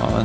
Ja,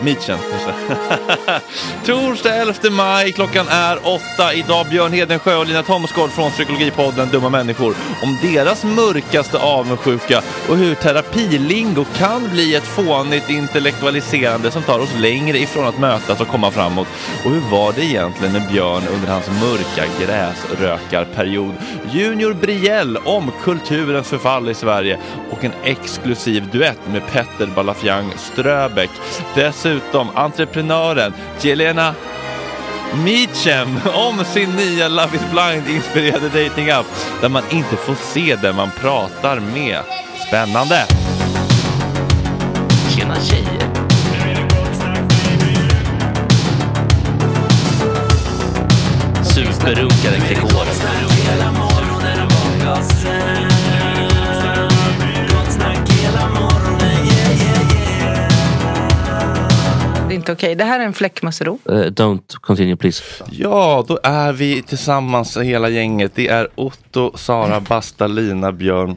Mitchen. Torsdag 11 maj, klockan är åtta. Idag Björn Hedensjö och Lina Thomsgård från Psykologipodden Dumma Människor om deras mörkaste avundsjuka och hur terapilingo kan bli ett fånigt intellektualiserande som tar oss längre ifrån att mötas och komma framåt. Och hur var det egentligen med Björn under hans mörka gräsrökarperiod? Junior Briell om kulturens förfall i Sverige och en exklusiv duett med Petter Balafjang Ströbeck. Dessutom entreprenören Jelena Meacham om sin nya Love is blind-inspirerade dating-app där man inte får se den man pratar med. Spännande! Tjena tjejer! Superrunkaren Gregor. Det är inte okej. Det här är en fläckmussero. Eh, don't continue please. Ja, då är vi tillsammans hela gänget. Det är Otto, Sara, Basta, Lina, Björn,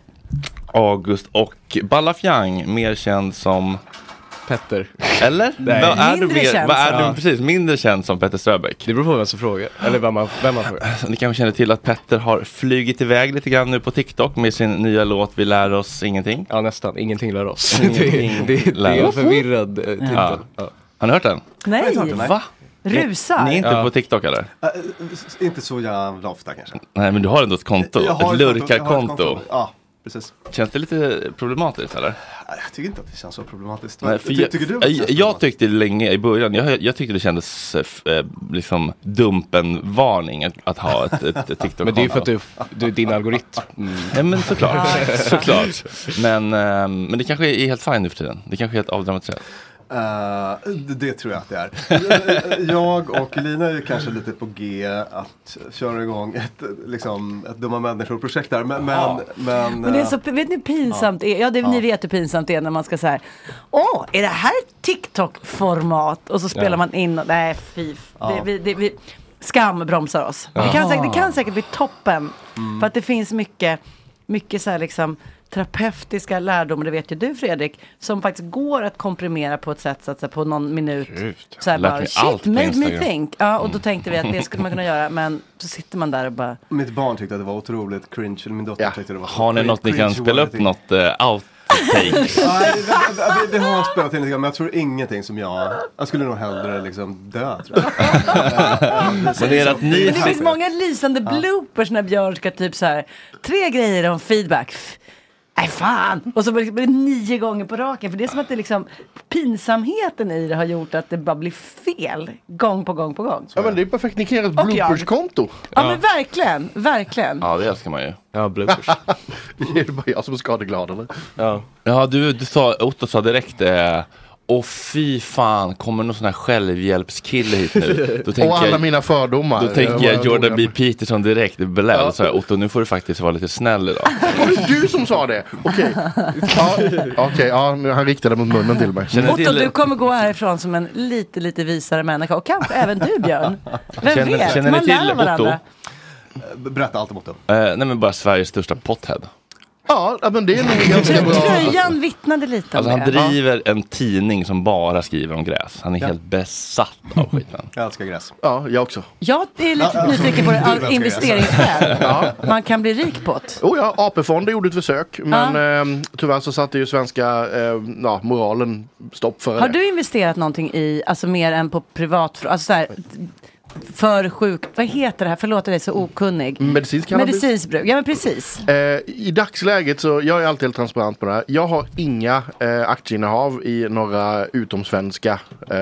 August och Ballafjang, mer känd som Petter. eller? Nej. Vad är du Mindre mer, känd vad är som- du precis mindre känd som Petter Ströbeck? Det beror på vem som frågar. Eller vem man, vem man frågar. Ni kanske känner till att Petter har flugit iväg lite grann nu på TikTok med sin nya låt Vi lär oss ingenting. Ja nästan, ingenting lär oss. Ingenting det, det, det lär är en oss. förvirrad eh, titel. Ja. Ja. Har ni hört den? Nej, Va? rusar. Ni är inte Ja. på TikTok eller? Äh, Inte så jävla ofta kanske. Nej, men du har ändå ett konto. Jag har Ett konto, jag har ett lurkarkonto. Ja, precis. Känns det lite problematiskt eller? Nej, Jag tycker inte att det känns så problematiskt. Nej, Men för ty- jag, tycker du att det jag, känns jag problematiskt? tyckte länge i början, jag, jag tyckte det kändes eh, f- eh, liksom dumpen-varning att, att ha ett, ett, ett TikTok-konto. Mm. Men det är ju för att du, du din algoritm. Ja men såklart, såklart. Men, eh, men det kanske är helt fine nu för tiden. Det kanske är helt avdramatiserat. Eh, det, det tror jag att det är. jag och Lina är ju kanske lite på G att köra igång ett, liksom, ett dumma människor-projekt där. Men, men, men, Men det är eh, så, vet ni hur pinsamt det är? Ja, det, ni vet hur pinsamt det är när man ska så här. Åh, är det här TikTok-format? Och så spelar man in och nej, fy. Det, vi, det, vi, skam bromsar oss. Det, kan säkert, det kan säkert bli toppen. För att det finns mycket, mycket så här liksom terapeutiska lärdomar, det vet ju du Fredrik, som faktiskt går att komprimera på ett sätt så att säga, på någon minut. Så här Lärt bara, mig shit, allt på made me Instagram." think. Ja, och då tänkte vi att det skulle man kunna göra, men så sitter man där och bara mitt barn tyckte att det var otroligt cringe. Eller min dotter tyckte det var Har ni cringe- något ni kan cringe spela upp worthy. något eh, outtakes? Nej, det, det, det, det har spelat in lite grann, men jag tror ingenting som jag... Jag skulle nog hellre liksom dö, tror jag. Men det är att ni... Men det finns många lysande bloopers när Björn ska typ så här, tre grejer om feedback. F- Nej fan! Och så blir det nio gånger på raken. För det är som att det liksom, pinsamheten i det har gjort att det bara blir fel gång på gång på gång. Ja men det är perfekt, ni kan göra ett Och jag. blooperskonto. Ja men verkligen, verkligen. Ja, det älskar man ju. Ja, bloopers. Är det bara jag som är skadeglad eller? Ja. Ja, du, du sa, Otto sa direkt eh, Åh fy fan, kommer någon sån här självhjälpskille hit nu? Då tänker Och alla jag- mina fördomar. Då tänker var jag Jordan dåliga B. med. Peterson direkt, Belell, så här, Otto nu får du faktiskt vara lite snäll idag. Var det du som sa det? Okej, ja, okej, ja, nu- han riktade mot munnen till mig. Känner Otto, till- du kommer gå härifrån som en lite, lite visare människa. Och kanske även du Björn. Vem Känner- vet? känner ni Man till lär varandra. Otto? Berätta allt om dem. Eh, nej men bara Sveriges största pothead. Ja, ja, men det är nog ganska Trö- bra. Tröjan vittnade lite om Alltså han det. driver en tidning som bara skriver om gräs. Han är helt besatt av skiten. Jag älskar gräs. Ja, jag också. Jag är lite nyfiken på det av investeringsskäl. Man kan bli rik på det. Oh ja, AP-fonden gjorde ett försök. Men ehm, tyvärr så satte ju svenska eh, ja, moralen stopp för Har det. du investerat någonting i, alltså mer än på privat, alltså så här, för sjuk, vad heter det här, förlåt att jag är så okunnig. Medicinsk Mm. cannabis? Medicinskt bruk, ja men precis. Eh, I dagsläget så, jag är alltid helt transparent på det här. Jag har inga eh, aktieinnehav i några utomsvenska eh,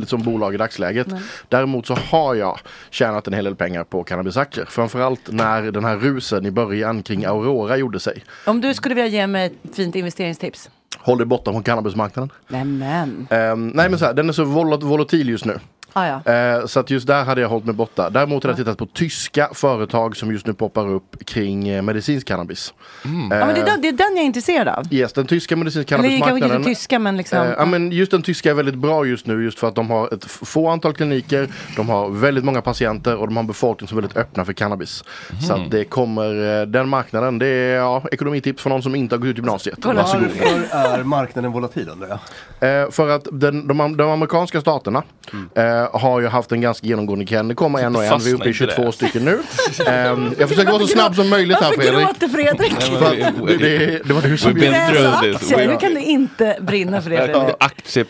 liksom bolag i dagsläget. Däremot så har jag tjänat en hel del pengar på cannabisaktier. Framförallt när den här rusen i början kring Aurora gjorde sig. Om du skulle vilja ge mig ett fint investeringstips. Håll dig borta från cannabismarknaden. Nämen, Eh, nej men så här, den är så vol- volatil just nu. ah, ja. Eh, så att just där hade jag hållit mig borta. Däremot har jag tittat på tyska företag som just nu poppar upp kring eh, medicinsk cannabis. Eh, ja men det är, den, det är den jag är intresserad av. Yes, den tyska medicinska Eller kanske inte cannabismarknaden. den tyska men liksom. Eh, ja, men just den tyska är väldigt bra just nu just för att de har ett f- få antal kliniker, de har väldigt många patienter och de har en befolkning som är väldigt öppna för cannabis. Mhm. Så att det kommer, eh, den marknaden, det är ja, ekonomitips för någon som inte har gått ut gymnasiet. Kolla. Varsågod. Varför är marknaden volatil undrar jag? Eh, för att den, de, am- de amerikanska staterna Mm. eh, har ju haft en ganska genomgående trend. Det kommer en och en, vi är uppe i Fastna inte 22 där. stycken nu. Ehm, jag försöker vara så Varför snabb som möjligt här Varför Fredrik. gråter Fredrik? För att det, det, det var du som We've been gjorde through- det. Läsa this. aktier, We- hur kan du inte brinna för det Fredrik? Aktie,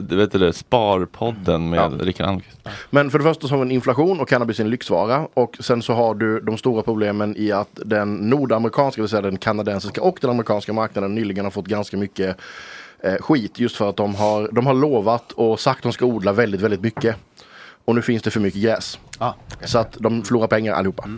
du vet det, Sparpodden med Rickard Almqvist. Men för det första så har vi en inflation och cannabis är en lyxvara. Och sen så har du de stora problemen i att den nordamerikanska, det vill säga den kanadensiska och den amerikanska marknaden nyligen har fått ganska mycket eh, skit. Just för att de har, de har lovat och sagt att de ska odla väldigt, väldigt mycket. Och nu finns det för mycket gräs. Så att de förlorar pengar allihopa. Eh,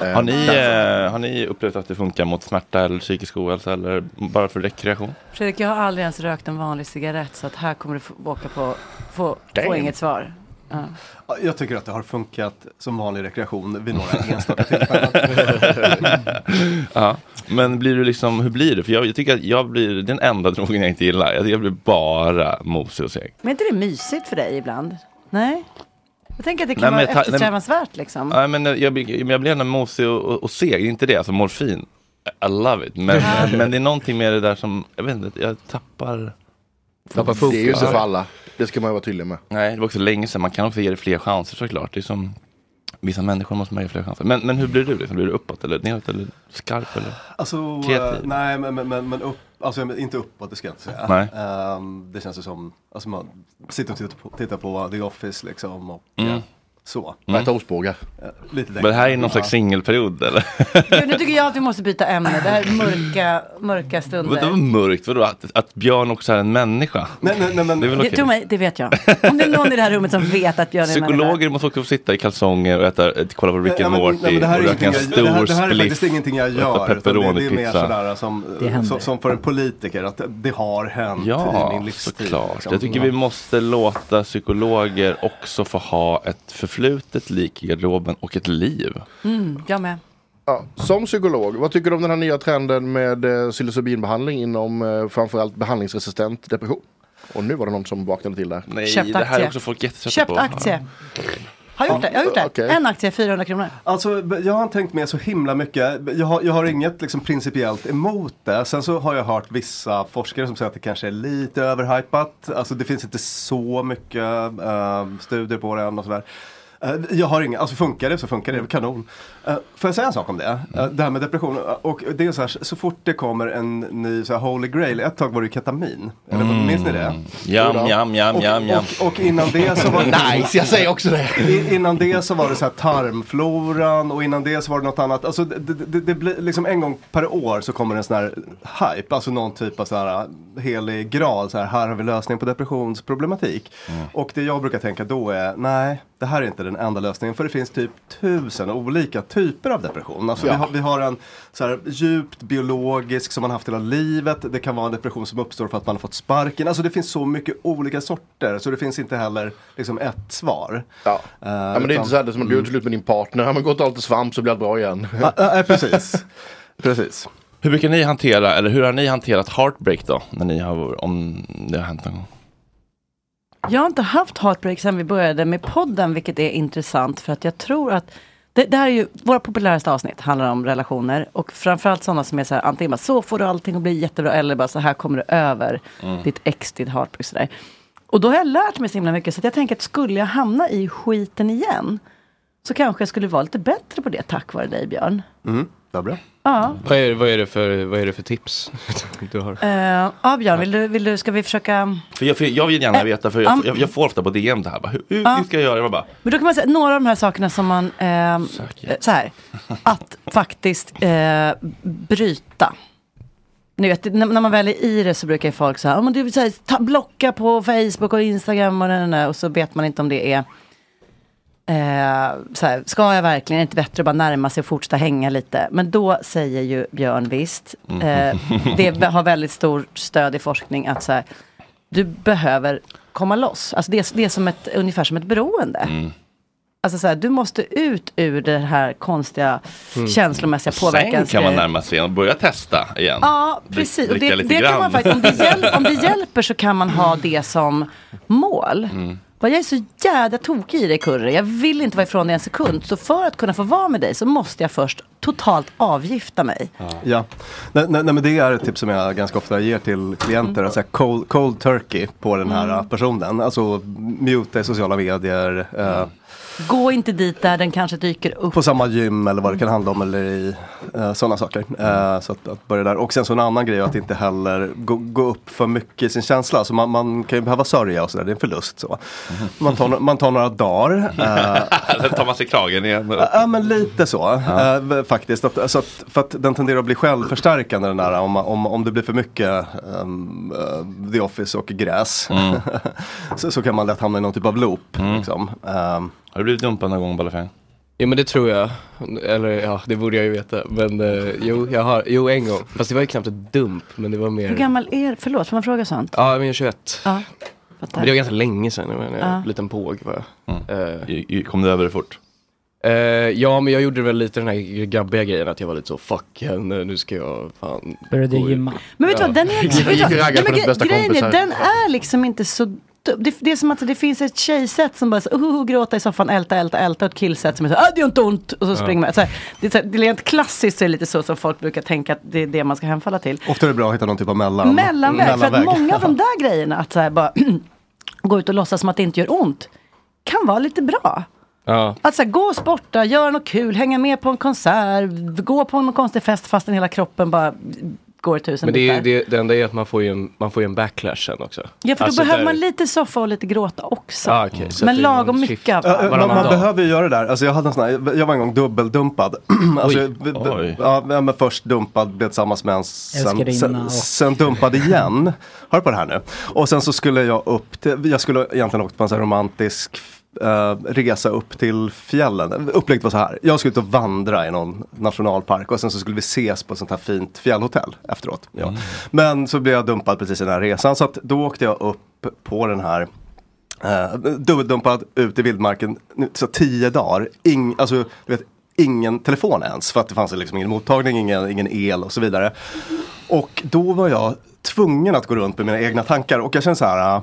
Ah, Mm. Har ni, därför. eh, har ni upplevt att det funkar mot smärta eller psykisk ohälsa eller bara för rekreation? Fredrik, jag har aldrig ens rökt en vanlig cigarett så att här kommer du få åka på, få, få Damn. inget svar. Ja. Jag tycker att det har funkat som vanlig rekreation vid några enstaka tillfällen. ja. Men blir du liksom, hur blir det? För jag, jag tycker att jag blir den enda drogen jag inte gillar. Jag, jag blir bara mosig och seg. Men är inte det mysigt för dig ibland? Nej? Jag tänker att det Nej, kan men vara jag ta- nej, men- eftersträvansvärt liksom. Nej, men jag, blir- men jag blir ändå mosig och, och, och seg. Det är inte det, alltså morfin. I love it. Men, men det är någonting med det där som, jag vet inte, jag tappar... Det är ju inte för alla. Det ska man ju vara tydlig med. Nej, det var också länge sedan. Man kan också ge det fler chanser såklart. Det är som, vissa människor måste man ge fler chanser. Men, men hur blir du? Liksom? Blir du uppåt eller neråt eller skarp eller Alltså, eh, kreativ? nej men, men, men, men upp, alltså, men inte uppåt, det ska jag inte säga. Nej. Ehm, det känns ju som, alltså man sitter och tittar på, tittar på The Office liksom. Och, Mm. ja, så. Eh, Mm. Äta ostbågar. Lite Men det här är någon slags singelperiod eller? Gud, nu tycker jag att vi måste byta ämne. Det här är mörka, mörka Vadå var stunder. mörkt? Vadå att, att Björn också är en människa? Nej, nej, nej, men... Det är väl Det, okej? tror mig, det vet jag. Om det är någon i det här rummet som vet att Björn är en människa. Psykologer måste också få sitta i kalsonger och äta, äh, kolla på Rick Ja, and men- Morty nej, men det här är och röka en ingenting jag- stor det här- Det här är spliff, faktiskt ingenting jag äta gör. utan Det, det är mer pepperoni-pizza. sådär eh, som, Det händer. som, som för en politiker, att det har hänt i Ja, min livstid. såklart. liksom. Jag tycker vi måste låta psykologer också få ha ett förflutet lik i garderoben och ett liv. Mm, jag med. Ja, som psykolog, vad tycker du om den här nya trenden med eh, psilocybinbehandling inom eh, framförallt behandlingsresistent depression? Och nu var det någon som vaknade till där. Nej, Köpt det här är aktie. också folk jättetrötta Köpt Köpt på. aktie. Har jag gjort det? Jag har gjort det. Okej. En aktie, 400 kronor. Alltså, b- jag har inte tänkt med så himla mycket. B- Jag har, jag har inget liksom, principiellt emot det. Sen så har jag hört vissa forskare som säger att det kanske är lite överhypat. Alltså det finns inte så mycket eh, studier på det än och sådär. Eh, Jag har inga, alltså funkar det så funkar det, kanon. Uh, får jag säga en sak om det? Eh, det här med depression. Eh, och det är så, här, så fort det kommer en ny så här, holy grail, ett tag var det ju ketamin. Eller, Mm. Minns ni det? Jam, jam, jam, Och- jam, jam. Och, och innan det så var det... Nice, jag säger också det. I- Innan det så var det så här tarmfloran och innan det så var det något annat. Alltså det, det, det, det blir liksom en gång per år så kommer en sån här hype, alltså någon typ av så här helig graal, så här, här har vi lösningen på depressionsproblematik. Och det jag brukar tänka då är, nej, det här är inte den enda lösningen för det finns typ tusen olika typer av depression. Alltså Ja. vi, har, vi har en så här djupt biologisk som man haft hela livet. Det kan vara en depression som uppstår för att man har fått sparken. Alltså det finns så mycket olika sorter så det finns inte heller liksom ett svar. Ja. Eh, Ja, men det är inte så här det är som att du är Mm. slut med din partner, ja, men gå och ta lite svamp så blir allt bra igen. Ja, ja, precis. precis. Hur brukar ni hantera, eller hur har ni hanterat heartbreak då? När ni har, om det har hänt någon gång? Jag har inte haft heartbreak sedan vi började med podden, vilket är intressant för att jag tror att det, det här är ju, våra populäraste avsnitt handlar om relationer och framförallt sådana som är så här, antingen bara så får du allting att bli jättebra eller bara så här kommer du över Mm. ditt ex, ditt heartbreak sådär. Och då har jag lärt mig så himla mycket så att jag tänker att skulle jag hamna i skiten igen så kanske jag skulle vara lite bättre på det tack vare dig Björn. Mm, det bra. Ja, Vad är, vad, är det för, vad är det för tips du har? Eh, ja Björn, vill du, vill du, ska vi försöka För jag, för jag vill gärna Eh, veta, för jag, am- jag, jag får ofta på DM det här. Bara, hur, hur, Ja. hur ska jag göra? Jag bara, Men då kan man säga några av de här sakerna som man, eh, så här, att faktiskt eh, bryta. Ni vet, när, när man väl är i det så brukar ju folk säga, men du så här, ta, blocka på Facebook och Instagram och, den, den, där", och så vet man inte om det är, eh, så här, ska jag verkligen, är det inte bättre att bara närma sig och fortsätta hänga lite? Men då säger ju Björn visst, eh, det har väldigt stort stöd i forskning att så här, du behöver komma loss. Alltså det, är- det är som ett, ungefär som ett beroende. Mm. Alltså så här, du måste ut ur den här konstiga Mm. känslomässiga påverkan. sen kan man närma sig och börja testa igen. Ja, Drick- precis. Och det, dricka lite det kan grann. man faktiskt, om, det hjälp, om det hjälper så kan man ha det som mål. Mm. Bara, jag är så jävla tokig i dig Kurre, jag vill inte vara ifrån dig en sekund. Så för att kunna få vara med dig så måste jag först totalt avgifta mig. Ja, nej, nej, nej, men det är ett tips som jag ganska ofta ger till klienter. Alltså cold, cold turkey på den här Mm. eh, personen. Alltså muta i sociala medier. Eh, Mm. Gå inte dit där den kanske dyker upp. på samma gym eller vad det kan handla om eller i eh, sådana saker. Mm. Eh, så att, att börja där. Och sen så en annan grej är att inte heller gå, gå upp för mycket i sin känsla. Så man, man kan ju behöva sörja och sådär, det är en förlust. Så. Man, tar, no- man tar några dagar. eh, Sen tar man sig i kragen igen. Ja, Ja men lite så eh, faktiskt. Att, alltså att, för att den tenderar att bli självförstärkande den där om, om, om det blir för mycket ehm, eh, The Office och gräs. Mm. så, så kan man lätt hamna i någon typ av loop. Liksom. Ehm, Har du blivit dumpad någon gång Balafang? Jo men det tror jag. Eller ja, det borde jag ju veta. Men eh, jo, jag har, jo en gång. Fast det var ju knappt ett dump, men det var mer. Hur gammal är Förlåt, får man fråga sånt? Ja, men jag är 21. Ja. Men det var ganska länge sedan, jag var en eh, Ja. liten påg var jag. Mm. Kom du över det fort? ja, men jag gjorde väl lite den här grabbiga grejen att jag var lite så, fuck henne, nu ska jag fan... Började gymma. Men vet du vad, den är... vet du vad- Nej, men gre- grejen är, den är... är liksom inte så dum. det, det är som att det finns ett tjejsätt som bara så, oh, oh, gråta i soffan, älta, älta, älta och ett killsätt som är så, ah, det gör inte ont och så Ja. springer man. Så här, det, är så här, det är rent klassiskt så är det lite så som folk brukar tänka att det är det man ska hemfalla till. Ofta är det bra att hitta någon typ av mellan, Mellanväg, för att många av de där grejerna, att så här bara gå ut och låtsas som att det inte gör ont, kan vara lite bra. Ja. Att så här, gå och sporta, göra något kul, hänga med på en konsert, gå på någon konstig fest fastän hela kroppen bara går i tusen Men det, är, ju- bitar. det, det enda är att man får ju en, man får ju en backlash sen också. Ja, för då Alltså, behöver där- man lite soffa och lite gråta också. Ah, okej, så Men att det är lagom någon mycket. av Ja, allt. man, man behöver ju göra det där. Alltså jag, hade en sån här, jag var en gång dubbeldumpad. alltså, Oj. b- b- Oj. Ja, men först dumpad, blev tillsammans med en, sen, Älskarinna sen, och- sen dumpad igen. Hör på det här nu. Och sen så skulle jag upp till, jag skulle egentligen åkt på en sån här romantisk eh, resa upp till fjällen. Upplägget var så här, jag skulle ut och vandra i någon nationalpark och sen så skulle vi ses på ett sånt här fint fjällhotell efteråt. Mm. Ja. Men så blev jag dumpad precis i den här resan så att då åkte jag upp på den här Uh, dubbeldumpad ut i vildmarken nu, så tio dagar. Ing, alltså, du vet, ingen telefon ens för att det fanns liksom ingen mottagning, ingen, ingen el och så vidare. Och då var jag tvungen att gå runt med mina egna tankar och jag kände så här, ah,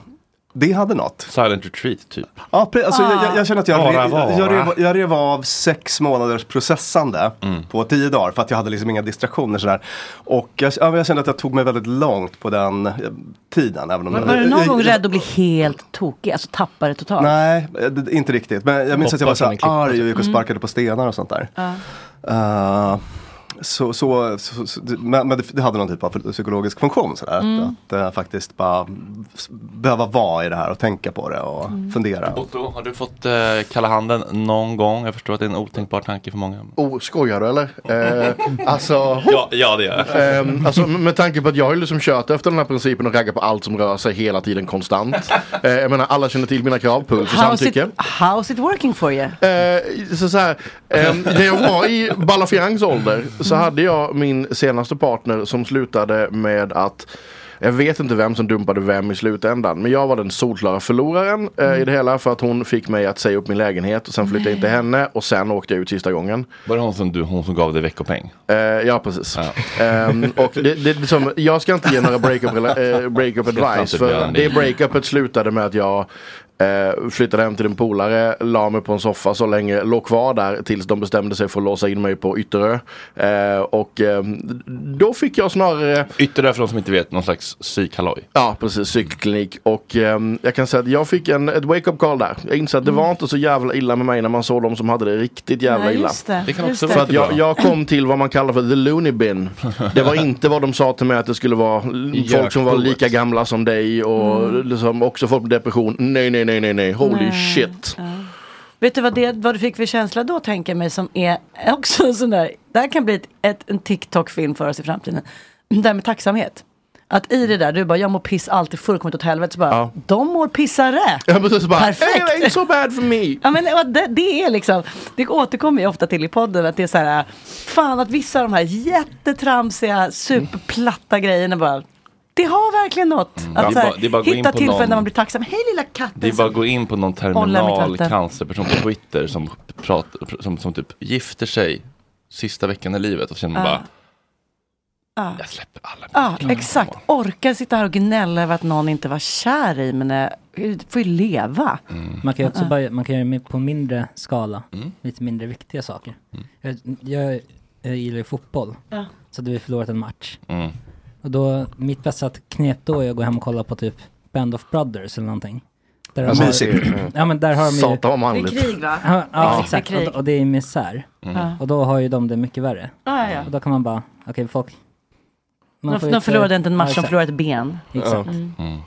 det hade något. Silent retreat typ. Ja, pre- alltså, jag, jag, jag känner att jag, Bara rev- vara. jag, rev, jag rev av sex månaders processande på tio dagar för att jag hade liksom inga distraktioner. Sådär. Och jag, ja, men jag kände att jag tog mig väldigt långt på den eh, tiden. Även om Var, jag- var du någon jag- gång jag- rädd att bli helt tokig, alltså tappa det totalt? Nej, eh, det- inte riktigt. Men jag minns att jag var Hoppas så som här en klippa, arg och gick och typ. sparkade på stenar och sånt där. Ja. Eh, så, så, så, så, det- men men det, det hade någon typ av psykologisk funktion. Sådär. Mm. Att, att eh, faktiskt bara s- behöva vara i det här och tänka på det och Mm. Mm. fundera. Otto, har du fått eh, kalla handen någon gång? Jag förstår att det är en otänkbar tanke för många. Oh, skojar du eller? Eh, alltså, Ja, ja det gör jag. Ehm, alltså, m- med tanke på att jag har ju liksom kört efter den här principen och raggar på allt som rör sig hela tiden konstant. Eh, jag menar alla känner till mina krav, puls och How's it, samtycke. how's it working for you? Eh, så, så här, ehm, när jag var i Balafiangs ålder så hade jag min senaste partner som slutade med att jag vet inte vem som dumpade vem i slutändan. Men jag var den solklara förloraren eh, i det hela. För att hon fick mig att säga upp min lägenhet. Och sen flyttade jag in till henne. Och sen åkte jag ut sista gången. Var det hon som, du, hon som gav dig veckopeng? Eh, ja, precis. Ehm, och det, det, är liksom, jag ska inte ge några breakup eh, break Ska inte advice. göra För det. det breakupet slutade med att jag eh, flyttade hem till en polare, la mig på en soffa så länge, låg kvar där tills de bestämde sig för att låsa in mig på Ytterö. Eh, och ehm, då fick jag snarare Ytterligare för de som inte vet, någon slags psykhalloj. Ja, precis. Cykelklinik. Och ehm, jag kan säga att jag fick en, ett wake-up call där. Jag insåg att det var inte så jävla illa med mig när man såg de som hade det riktigt jävla Mm. Nej, illa. just det. Det kan Just också vara för att jag, bra. jag kom till vad man kallar för the loony bin. Det var inte vad de sa till mig att det skulle vara l- folk som var Gökboet. lika gamla som dig och liksom också folk med depression. Nej, nej, nej, nej, nej. Holy Mm. Nej. shit. Vet du vad, det, vad du fick för känsla då tänker jag mig som är också en sån där, det här kan bli ett, ett, en TikTok-film för oss i framtiden. Det här med tacksamhet. Att i det där, du bara jag mår piss alltid fullkomligt åt helvete. Så bara, Ja. de mår pissare. Ja, men så bara, Perfekt. "It ain't so bad for me. Ja, men, och det, det är liksom, det återkommer jag ofta till i podden. Att det är så här, fan att vissa av de här jättetramsiga, superplatta grejerna bara, det har verkligen något. Mm. Att Det är så här, bara- det är bara att gå in hitta på tillfällen någon- när man blir tacksam. Hej lilla katten. Det är bara att gå in på någon Alltså, Hålla terminal mitt vatten. cancerperson på Twitter som, pratar, som, som typ gifter sig sista veckan i livet och känner man Ja. bara Ja. Jag släpper alla Ja, Ah. exakt. Orkar sitta här och gnälla över att någon inte var kär i men eh, du får ju leva. Mm. Ah. Man kan ju också Ja. börja, man kan göra det på mindre skala, lite mindre viktiga saker. Jag, jag, jag gillar ju fotboll, Ja. så hade vi förlorat en match. Mm. Och då, mitt bästa knep då är att gå hem och kolla på typ Band of Brothers eller någonting. Där de Mysigt. har, ja men där har de ju... Satan vad manligt. Det är krig, va? Ja, Ja. ja exakt. Det är krig. Och, och det är misär. Mm. Ja. Och då har ju de det mycket värre. Ja, ja. Och då kan man bara, okej folk... man De, får de inte- förlorade inte en Ja, match, de exakt. förlorade ett ben. Exakt. Mm. Oh.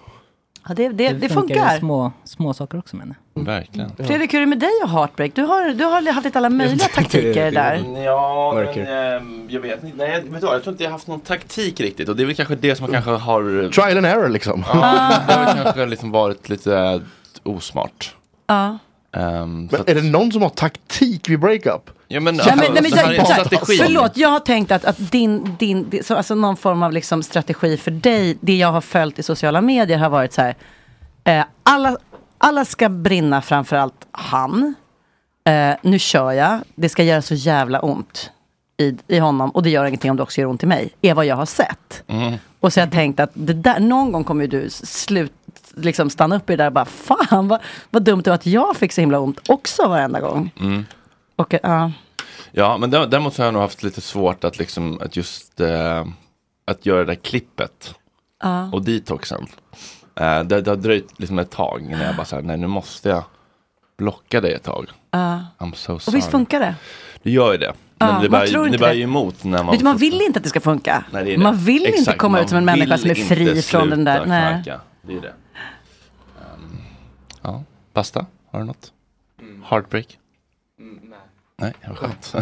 Ja, det, det, det i funkar. Små, små saker också menar jag. Verkligen. Fredrik, hur är det med dig och heartbreak? Du har, du har haft lite alla möjliga taktiker där. Ja, Mörker. men eh, jag vet inte. Nej, vet du, vad, jag tror inte jag har haft någon taktik riktigt. Och det är väl kanske det som kanske har... Trial and error liksom. Ja, det har väl kanske liksom varit lite eh, osmart. Ja. Eh, Ehm, så Men är det någon som har taktik vid breakup? Ja, men, alltså, Nej, men, nej, men, det här är en jag, strategi. förlåt, jag har tänkt att, att din, din, di- så, alltså någon form av liksom strategi för dig, det jag har följt i sociala medier har varit så här, eh, alla, alla ska brinna framför allt han, eh, nu kör jag, det ska göra så jävla ont i, i honom och det gör ingenting om det också gör ont i mig, är vad jag har sett. Mm. Och så har jag tänkt att det där, någon gång kommer ju du slut, liksom stanna upp i det där och bara fan vad, vad dumt det var att jag fick så himla ont också varenda gång. Mm. Och, ja. Ja, men dä- däremot så har jag nog haft lite svårt att liksom, att just, eh, att göra det där klippet. Ja. Och detoxen. Eh, det, det har dröjt liksom ett tag innan jag bara såhär, nej nu måste jag blocka dig ett tag. ja. I'm so sorry. Och visst funkar det? Det gör ju det. Ja, Men man det bär, tror ju- det inte bär det. ju emot när man... Vet du, man vill inte att det ska funka. Nej, det är det. Man vill inte Exakt, komma ut som en man människa vill som är inte fri från den där. sluta Nej. knarka. Det är det. Ehm, ja, Basta, har du något? Heartbreak? Mm. nej. Nej, vad skönt.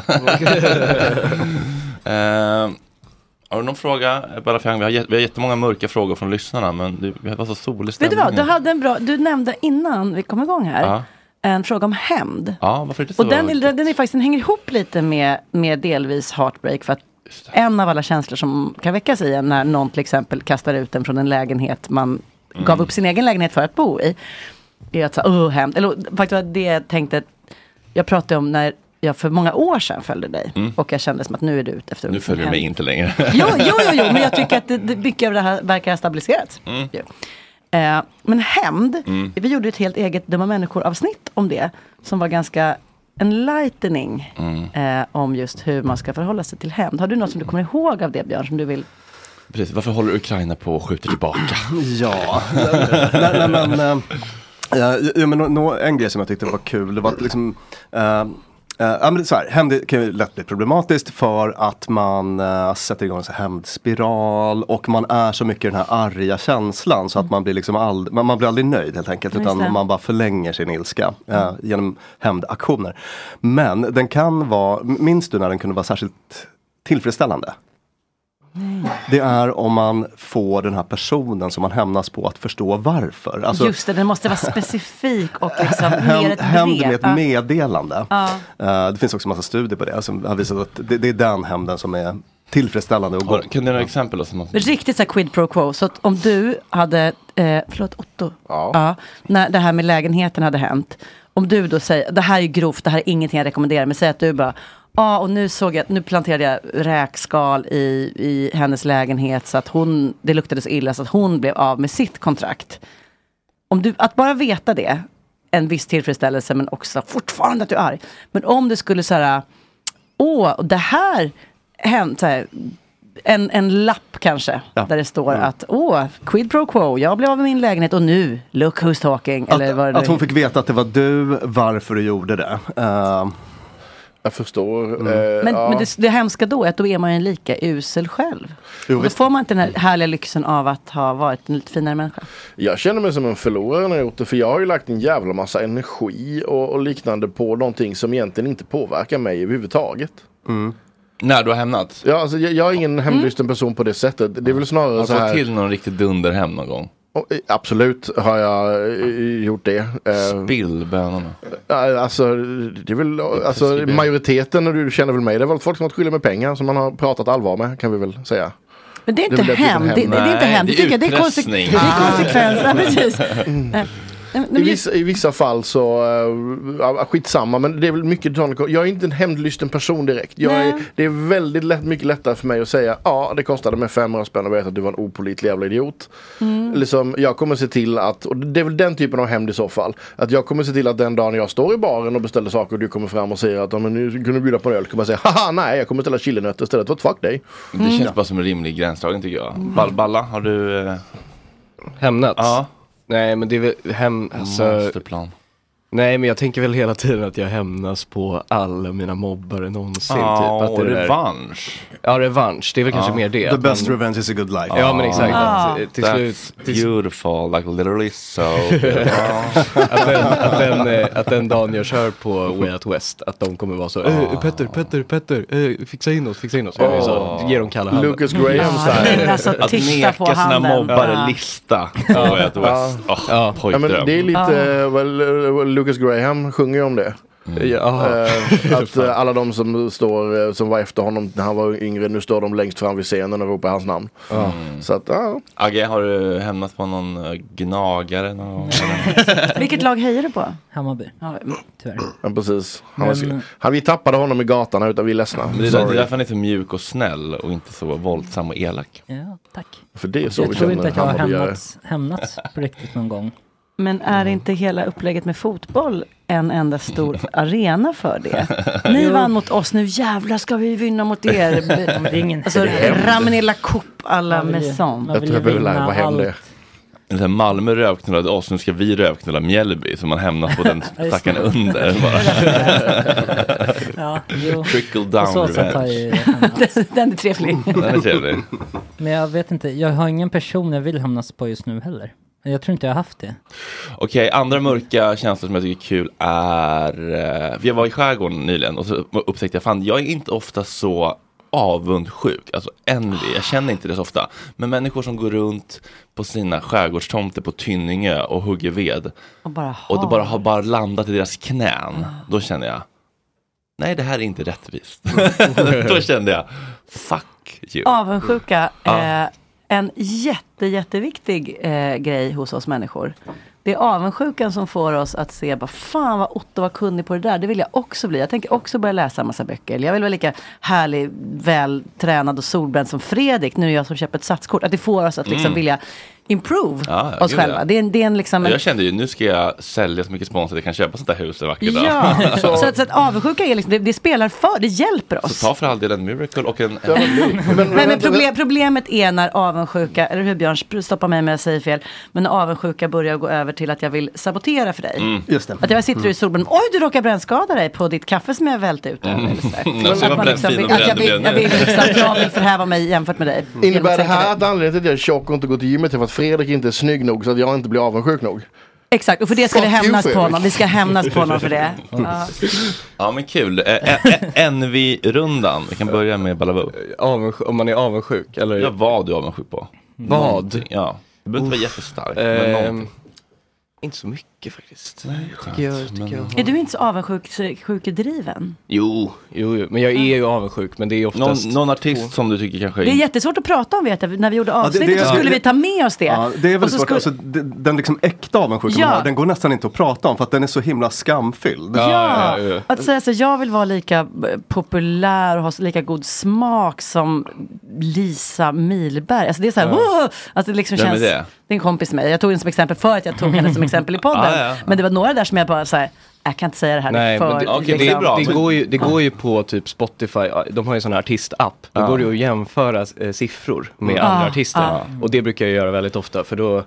Ehm, har du någon fråga? Balafiang, vi, har jät- vi har jättemånga mörka frågor från lyssnarna, men det, vi var så solig Vet du stämning. vad, du, hade en bra, du nämnde innan vi kom igång här Ja. en fråga om hämnd. Ja, varför är det så? Och den, är, den, är faktiskt, den hänger ihop lite med, med delvis heartbreak. För att en av alla känslor som kan väckas i en när någon till exempel kastar ut en från en lägenhet man gav Mm. upp sin egen lägenhet för att bo i. Det är att så här, "Åh, hämnd. Eller faktiskt var det jag tänkte, att jag pratade om när jag för många år sedan följde dig. Mm. Och jag kände som att nu är du ute efter nu följer du mig hämnd. inte längre. Jo, jo, jo, jo, men jag tycker att det, det, mycket av det här verkar ha stabiliserats. Mm. Eh, men hämnd, Mm. vi gjorde ett helt eget Dumma Människor-avsnitt om det. Som var ganska enlightening Mm. eh, om just hur man ska förhålla sig till hämnd. Har du något som du kommer ihåg av det Björn, som du vill? Precis, varför håller Ukraina på och skjuter tillbaka? Ja, nej, nej, men, eh, eh, ja, men, nå- nå- en grej som jag tyckte var kul, det var att liksom, eh, eh, ja, men det är så här, hämnd kan ju lätt bli problematiskt för att man eh, sätter igång en sån här hämndspiral och man är så mycket i den här arga känslan så att man blir, liksom ald- man, man blir aldrig nöjd helt enkelt Just det. Mm. utan man bara förlänger sin ilska eh, genom hämndaktioner. Men den kan vara, minns du när den kunde vara särskilt tillfredsställande? Det är om man får den här personen som man hämnas på att förstå varför. Alltså, just det, den måste vara specifik och liksom mer Hämnd ett hämnd brev. med ett meddelande. Ja. Eh, det finns också massa studier på det som har visat att det, det är den hämnden som är tillfredsställande. Och kan du ge några exempel? Då, som man... Riktigt så här quid pro quo. Så att om du hade, eh, förlåt Otto, ja. när det här med lägenheten hade hänt. Om du då säger, det här är ju grovt, det här är ingenting jag rekommenderar, men säg att du bara, ja och nu såg jag, nu planterade jag räkskal i, i hennes lägenhet så att hon, det luktade så illa så att hon blev av med sitt kontrakt. Om du, att bara veta det, en viss tillfredsställelse men också fortfarande att du är arg. Men om du skulle så här, åh, och det här hänt, så här, en, en lapp kanske, där det står Mm. att åh, quid pro quo, jag blev av med min lägenhet och nu, look who's talking. eller vad det nu Att hon är. fick veta att det var du, varför du gjorde det. Eh, Mm. jag förstår. eh, men men det, det hemska då är att då är man ju en lika usel själv. Jo, och då visst. får man inte den här härliga lyxen av att ha varit en lite finare människa. Jag känner mig som en förlorare när jag gjort det. För jag har ju lagt en jävla massa energi och, och liknande på någonting som egentligen inte påverkar mig överhuvudtaget. Mm. När du har hämnat? Ja, alltså, jag, jag är Mm. ingen hämndlysten person på det sättet. Det är väl snarare Har du så här. fått till någon riktig dunderhem någon gång? Och, eh, Absolut har jag eh, gjort det. Eh, Spill bönorna. Ja, Alltså, det är väl, alltså precis det. majoriteten, och du känner väl mig, det är väl folk som har varit skyldiga med pengar som man har pratat allvar med kan vi väl säga. Men det är Det inte är väl det typ hämnd, det, som det, det är inte händer. hämnd, Nej, tycker det är jag. Det är, konse- det utpressning. är konsekvens. Ja, precis. Mm. Nej, men- I men just- vissa, I vissa fall så, eh, ja, skitsamma, men det är väl mycket sånt. Jag är inte en hämndlysten person direkt. Jag är, Nej. det är väldigt lätt, mycket lättare för mig att säga, ja det kostade mig 500 spänn att veta att du var en opålitlig jävla idiot. Mm. Liksom, jag kommer se till att, och det är väl den typen av hämnd i så fall. Att jag kommer se till att den dagen jag står i baren och beställer saker och du kommer fram och säger att ja, men nu kunde du bjuda på en öl, kommer jag säga, haha nej jag kommer ställa chilinötter istället, what fuck dig. Det Mm, känns bara som en rimlig gränsdragning tycker jag. Ball, balla, har du... Eh... Hämnats? Ja. Nej men det är väl hem, alltså, Masterplan. Nej men jag tänker väl hela tiden att jag hämnas på alla mina mobbare någonsin. Ja, typ, att och det där- revansch. Ja revansch, det är väl kanske mer det. The att man- best revenge is a good life. Ja, men exakt. Ah. Till That's slut- till- beautiful, like literally so att, den, att, den, eh, att den dagen jag kör på Way Out West, att de kommer vara så Oh. eh, Petter, Petter, Petter, eh, fixa in oss, fixa in oss. Jag är så, ge dem kalla handen. Lucas Graham Ja, style. men alltså, Oh. Att titta neka på sina handen. mobbare Ja. lista. Oh, Ja. ja. oh, Ja, men det är lite Ah. pojkdröm. eh, väl, eh, Lucas Graham sjunger ju om det. Mm. Ah, Eh, att eh, alla de som, står, eh, som var efter honom när han var yngre, nu står de längst fram vid scenen och ropar hans namn. Mm. Så att, ja. Agge, har du hämnat på någon eh, gnagare? Någon... Vilket lag hejar du på? Hammarby. Ja, tyvärr. Ja, precis. Han, var, Men- han, vi tappade honom i gatan här utan vi är ledsna. Men det, är där- det är Sorry. därför han är så mjuk och snäll och inte så våldsam och elak. Ja, tack. För det är så jag vi tror inte känner att jag har hammarbyare. hämnats, hämnats på riktigt någon gång. Men är Mm. inte hela upplägget med fotboll en enda stor arena för det? Ni Jo. vann mot oss, nu jävlar ska vi vinna mot er. Ja, men det är ingen- alltså, Det är hemskt. Ramanilla Cup alla Man vill ju- Maison. man vill ju vinna allt. Eller så här, Malmö rövknullade oss, nu ska vi rövknulla Mjällby. Så man hämnas på den Ja, just stackaren det. under. Ja, Bara. jo. Trickle På så down sätt har jag revenge. ju hämnats. Den är trevlig. Den är trevlig. Men jag vet inte, jag har ingen person jag vill hämnas på just nu heller. Jag tror inte jag har haft det. Okej, andra mörka känslor som jag tycker är kul är... Eh, jag var i skärgården nyligen och så upptäckte jag fan, jag är inte ofta så avundsjuk, alltså envy, jag känner inte det så ofta. Men människor som går runt på sina skärgårdstomter på Tynningö och hugger ved Och bara och det har. bara har bara landat i deras knän, då känner jag Nej, det här är inte rättvist. då kände jag, fuck you. Mm. Avundsjuka, Ja. eh, en jätte, jätteviktig eh, grej hos oss människor. Det är avundsjukan som får oss att se, bara, fan vad Otto var kunnig på det där, det vill jag också bli. Jag tänker också börja läsa en massa böcker. Eller Jag vill vara lika härlig, vältränad och solbränd som Fredrik. Nu är det jag som köper ett satskort. Att det får oss att liksom Mm. vilja improve Ja, oss gud, ja. själva. Det är en, det är en liksom... en- Jag kände ju, nu ska jag sälja så mycket spons att jag kan köpa sånt där hus en vacker Ja, dag. så, att, så att avundsjuka är liksom, det, det spelar för, det hjälper oss. Så Alltså, ta för all del en miracle och en... Nej, men problem, problemet är när avundsjuka, eller hur Björn, Sp- stoppa mig om jag säger fel, men när avundsjuka börjar gå över till att jag vill sabotera för dig. Mm. Just det. Att jag sitter Mm. i solbränd, oj du råkar brännskada dig på ditt kaffe som jag välte ut. över." Eller sådär. Mm. Jag ser Att vad man bränd, liksom fin och vill- att jag bränd vill- jag vill liksom- att jag vill förhäva mig jämfört med dig. Genom att Mm. Innebär det sänka dig. här att anledningen till att jag är tjock och inte går till gymmet är för att Fredrik inte är snygg nog så att jag inte blir avundsjuk nog? Exakt, och för det ska vi Fuck you, hämnas på Fredrik. honom. Vi ska hämnas på honom för det. Mm. Ja. Ja men kul. Eh, eh, eh, Envy-rundan. Vi kan börja med Balabou. Om man är avundsjuk eller? Ja, vad du är avundsjuk på. Vad? Ja. Det behöver inte vara jättestarkt. Ehm, men någonting. Inte så mycket faktiskt. skönt, tycker jag, tycker jag. Är du inte så avundsjukdriven? Jo, jo, jo, men jag är ju avundsjuk men det är oftast Någon, någon artist som du tycker kanske Det är jättesvårt att prata om vet jag, när vi gjorde det- avsnittet det- så skulle det- vi ta med oss det. Ja, det är Och väl så svårt, skulle- alltså, d- den liksom äkta avundsjukan Ja. man har, den går nästan inte att prata om för att den är så himla skamfylld. Ja, att säga så, jag vill vara lika eh, populär och ha så lika god smak som Lisa Milberg. Alltså det är så här, Ja. "Wow!" att det liksom Vem är känns... det? det är en kompis med mig. Jag tog henne som exempel för att jag tog henne som exempel i podden. Ja, ja. Men det var några där som jag bara så här, jag kan inte säga det här Nej, för... men det, liksom." det, det, går ju, det går ju på typ Spotify, de har ju sån här artistapp. Ja. Då Mm. går det ju att jämföra eh, siffror med Ja, andra artister. ja. Och det brukar jag göra väldigt ofta för då,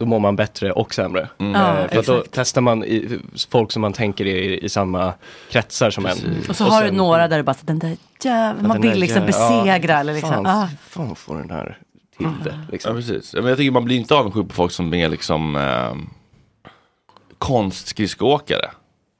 då mår man bättre och sämre. Mm. Ja, Eh, för att då exakt. testar man i, folk som man tänker är i, i samma kretsar som en. Och så har du sen- några där du bara, så, den där jäveln, man den där vill liksom jäveln- besegra. ja, eller liksom. fan, Ah. Fan vad får den här till det. Liksom. Ja, precis. Ja, Men jag tycker man blir inte avundsjuk på folk som är liksom eh, konstskridskoåkare.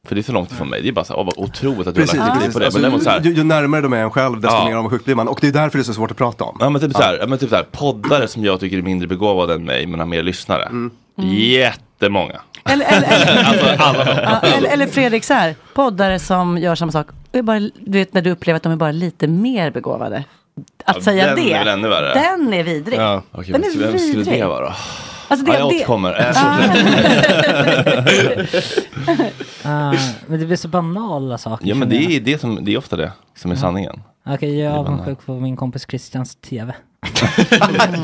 För det är så långt ifrån mig. Det är bara så här, åh, vad otroligt att du Precis, har lagt energi precis. på det. Alltså, men däremot så här, ju, ju närmare de är en själv desto Ja. mer avundsjuk blir man. Och det är därför det är så svårt att prata om. Ja men typ, såhär, ja. men typ såhär, poddare som jag tycker är mindre begåvade än mig men har mer lyssnare. Mm. Jättemånga. Eller, eller, eller, Alltså alla de. Ja, eller, eller Fredrik, så här, poddare som gör samma sak. Och är bara, du vet när du upplever att de är bara lite mer begåvade. Att Ja, säga den det, är väl ännu värre. den är vidrig. Ja. Okej, den men är vem skulle vidrig. det vara då? Alltså, det- ja, jag det- återkommer. Äh, Ah, men det blir så banala saker. ja men känner jag. det är, det, som, det är ofta det som är sanningen. Okej, jag är Det är avundsjuk på min kompis Christians TV.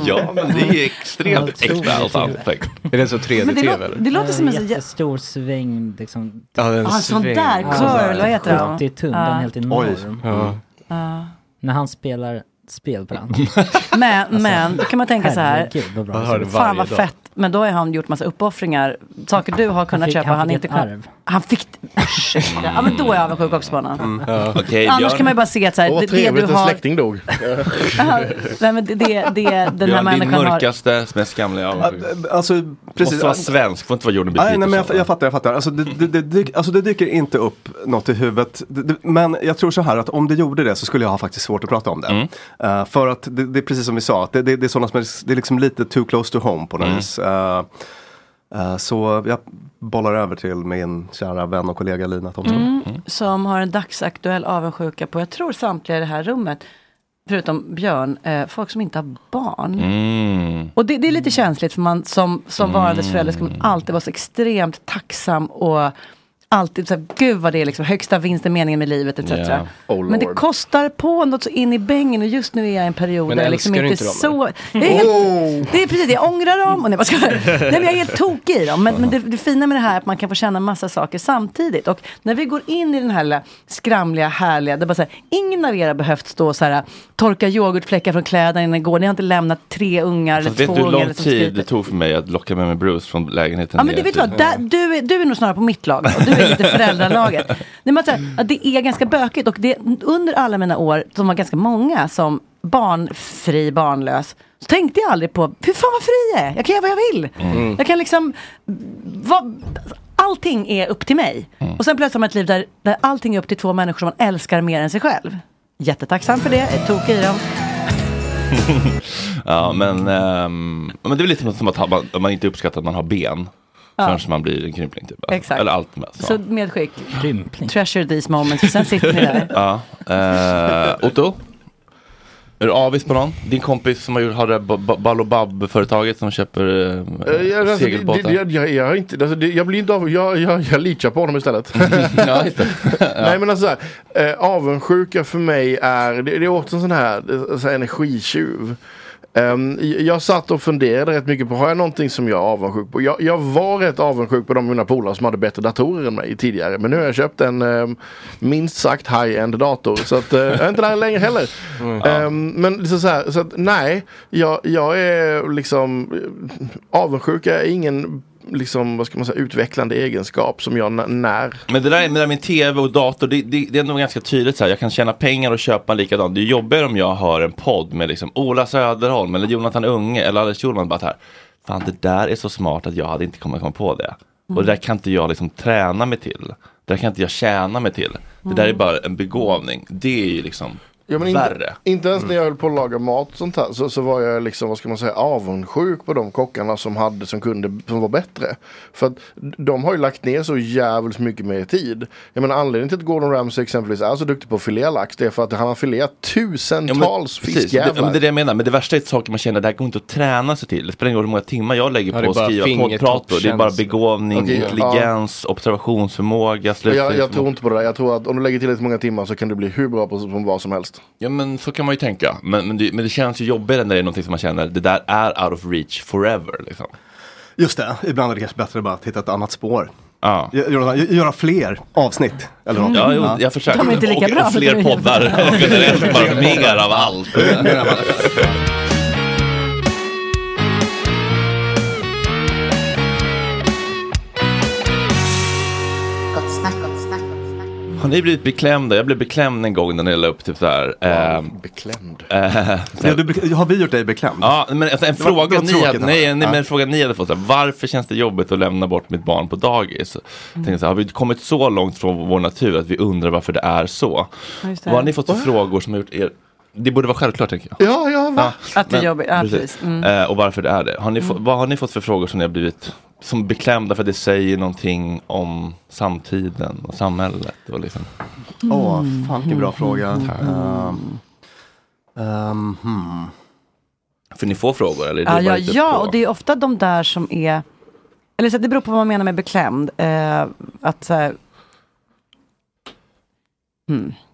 ja men det är extremt Otroligt äkta och sant. TV. Är det så 3D-tv eller? det låter som en en sån jä- jättestor sväng. Liksom. Ja, det är en Ah, en sån sväng. där Ja, curl, vad heter det? 70 tum, Ja. den är helt enorm. Oj. Ja. Ja. När han spelar spel på den. Men, Alltså, men då kan man tänka så här, herregud, vad bra fan det ser vad ut. fett. Men då har han gjort massa uppoffringar, saker du har kunnat fick- köpa han han fick inte ett kunnat. arv. Han fick, ursäkta. ja men då är jag avundsjuk också på honom. Mm. Okej, Annars Björn. kan man ju bara se att så här, Åh, det, vad det trevligt, du en har... släkting dog. Ja, Nej men det, det, det den här Björn, din människan har... mörkaste, mest skamliga avundsjuk. Alltså, precis. Måste vara svensk, får inte vara Jordan B. Nej, nej men Peterson. jag, jag fattar, jag fattar. Alltså det, det, det, dyk, alltså det dyker inte upp något i huvudet. Det, det, men jag tror så här att om det gjorde det så skulle jag ha faktiskt svårt att prata om det. Mm. Eh, för att det, det är precis som vi sa, att det, det, det är sådana som är, det är liksom lite too close to home på något Mm. vis. Eh, Eh, Så jag bollar över till min kära vän och kollega Lina Thomsson. Mm, som har en dagsaktuell avundsjuka på, jag tror samtliga i det här rummet, förutom Björn, eh, folk som inte har barn. Mm. Mm. Och det, det är lite känsligt för man som, som varandes förälder ska man alltid vara så extremt tacksam och alltid så här, gud vad det är liksom högsta vinsten, meningen med livet etc. Yeah. Oh, Men det Lord. kostar på något så in i bängen och just nu är jag i en period Men där jag liksom älskar inte du inte dem, Oh! så... Jag är helt, Det är precis, jag ångrar dem och nej, jag skojar. nej, men jag är helt tokig i dem. Men, men det, det fina med det här är att man kan få känna en massa saker samtidigt. Och när vi går in i den här lilla skramliga, härliga, det är bara så här, ingen av er har behövt stå och så här, torka yoghurtfläckar från kläderna innan ni går. Ni har inte lämnat tre ungar eller Fast vet två du hur ungar. lång eller som skriker. tid det tog för mig att locka med mig Bruce från lägenheten Ja men ner det vet du till- vad, där, du, är, du är nog snarare på mitt lag. Och du är lite föräldralaget. Nej, men att säga, att det är ganska bökigt och det, under alla mina år, som var ganska många, som barnfri, barnlös, så tänkte jag aldrig på, hur fan vad fri jag är, jag kan göra vad jag vill. Mm. Jag kan liksom, vad, allting är upp till mig. Mm. Och sen plötsligt har man ett liv där, där allting är upp till två människor som man älskar mer än sig själv. Jättetacksam för det, är tokig i dem. ja, men, ehm, men det är väl lite som att man, man inte uppskattar att man har ben. Ja. Förrän man blir en krympling typ. Exakt. Eller allt med. Så medskick, treasure these moments, och sen sitter ni där. Ja. Eh, Otto? Är du avis på någon? Din kompis som har, gjort- har det ba- ba- Balobab-företaget som köper eh, Eh, jag- alltså, det- segelbåtar? det- Jag jag- jag är inte, alltså, det- jag blir inte av, jag, jag, jag litar på honom istället. Nej men alltså så här, eh, avundsjuka för mig är, det, det är också en sån här, eh, så här energitjuv. Ehm, j- jag satt och funderade rätt mycket på, har jag någonting som jag är avundsjuk på? Jag, jag var rätt avundsjuk på de av mina polare som hade bättre datorer än mig tidigare. Men nu har jag köpt en ehm, minst sagt high-end dator. Så att, eh, jag är inte där längre heller. Ehm, men så, så, här, så att, nej, jag, jag är liksom, eh, avundsjuka är ingen liksom, vad ska man säga, utvecklande egenskap som jag n- när Men det där med, det där med tv och dator, det, det, det är nog ganska tydligt så här. Jag kan tjäna pengar och köpa en likadan. Det är jobbigare om jag har en podd med liksom Ola Söderholm eller Jonathan Unge eller Anders Schulman. Bara så här, Fan det där är så smart att jag hade inte kommit komma på det. Och det där kan inte jag liksom träna mig till. Det där kan inte jag tjäna mig till. Det där är Mm. bara en begåvning. Det är ju liksom Ja, men värre. Mm. inte, inte ens när jag höll på att laga mat och sånt här så, så var jag liksom, vad ska man säga, avundsjuk på de kockarna som hade, som kunde, som var bättre. För att de har ju lagt ner så jävligt mycket mer tid. Jag menar anledningen till att Gordon Ramsay exempelvis är så duktig på att filea lax det är för att han har fileat tusentals Precis, det, ja, fiskjävlar. men det är det jag menar. Men det värsta är saker man känner, det här går inte att träna sig till. Det spelar ingen roll hur många timmar jag lägger Ja, det på är att bara skriva poddprator. Det är bara fingertoppskänsla. begåvning, Okej, ja. intelligens, observationsförmåga, jag, jag tror slutförmåga. inte på det där. Jag tror att om du lägger till lite många timmar så kan du bli hur bra på som vad som helst. Ja men så kan man ju tänka. Men, men, det, men det känns ju jobbigare när det är någonting som man känner, det där är out of reach forever. Liksom. Mm. Just det, ibland är det kanske bättre att bara hitta ett annat spår. Ja. Göra, göra fler avsnitt. Eller något. Ja, jo, jag försöker. De är Mm. inte lika och, bra, och fler de är poddar. jättebra. Och generellt bara mer av allt. Gott snack, gott snack. Har ni blivit beklämda? Jag blev beklämd en gång när ni la upp typ så här. ehm, beklämd? Eh, så Ja, här- du, blir- har vi gjort dig beklämd? Ja, men alltså, en Det var- det var fråga ni tråkigt, hade, Hanna. nej, nej, men Ja. en fråga ni hade fått, så här, varför känns det jobbigt att lämna bort mitt barn på dagis? Mm. Tänkte, så här, har vi kommit så långt från vår natur att vi undrar varför det är så? Ja, just det. Vad har ni fått för frågor som har gjort er det borde vara självklart tänker jag. Ja, ja, va? Att det är jobbigt, ja, precis. Mm. Eh, och varför det är det. Har ni få, Mm. Vad har ni fått för frågor som ni har blivit som beklämda för att det säger någonting om samtiden och samhället? Och liksom. Åh, fan vilken bra Mm. fråga. Tack. Ehm, ehm, hmm. För ni får frågor eller? är det Ja, bara ja, lite ja på- och det är ofta de där som är... Eller så att det beror på vad man menar med beklämd. Eh, att så här,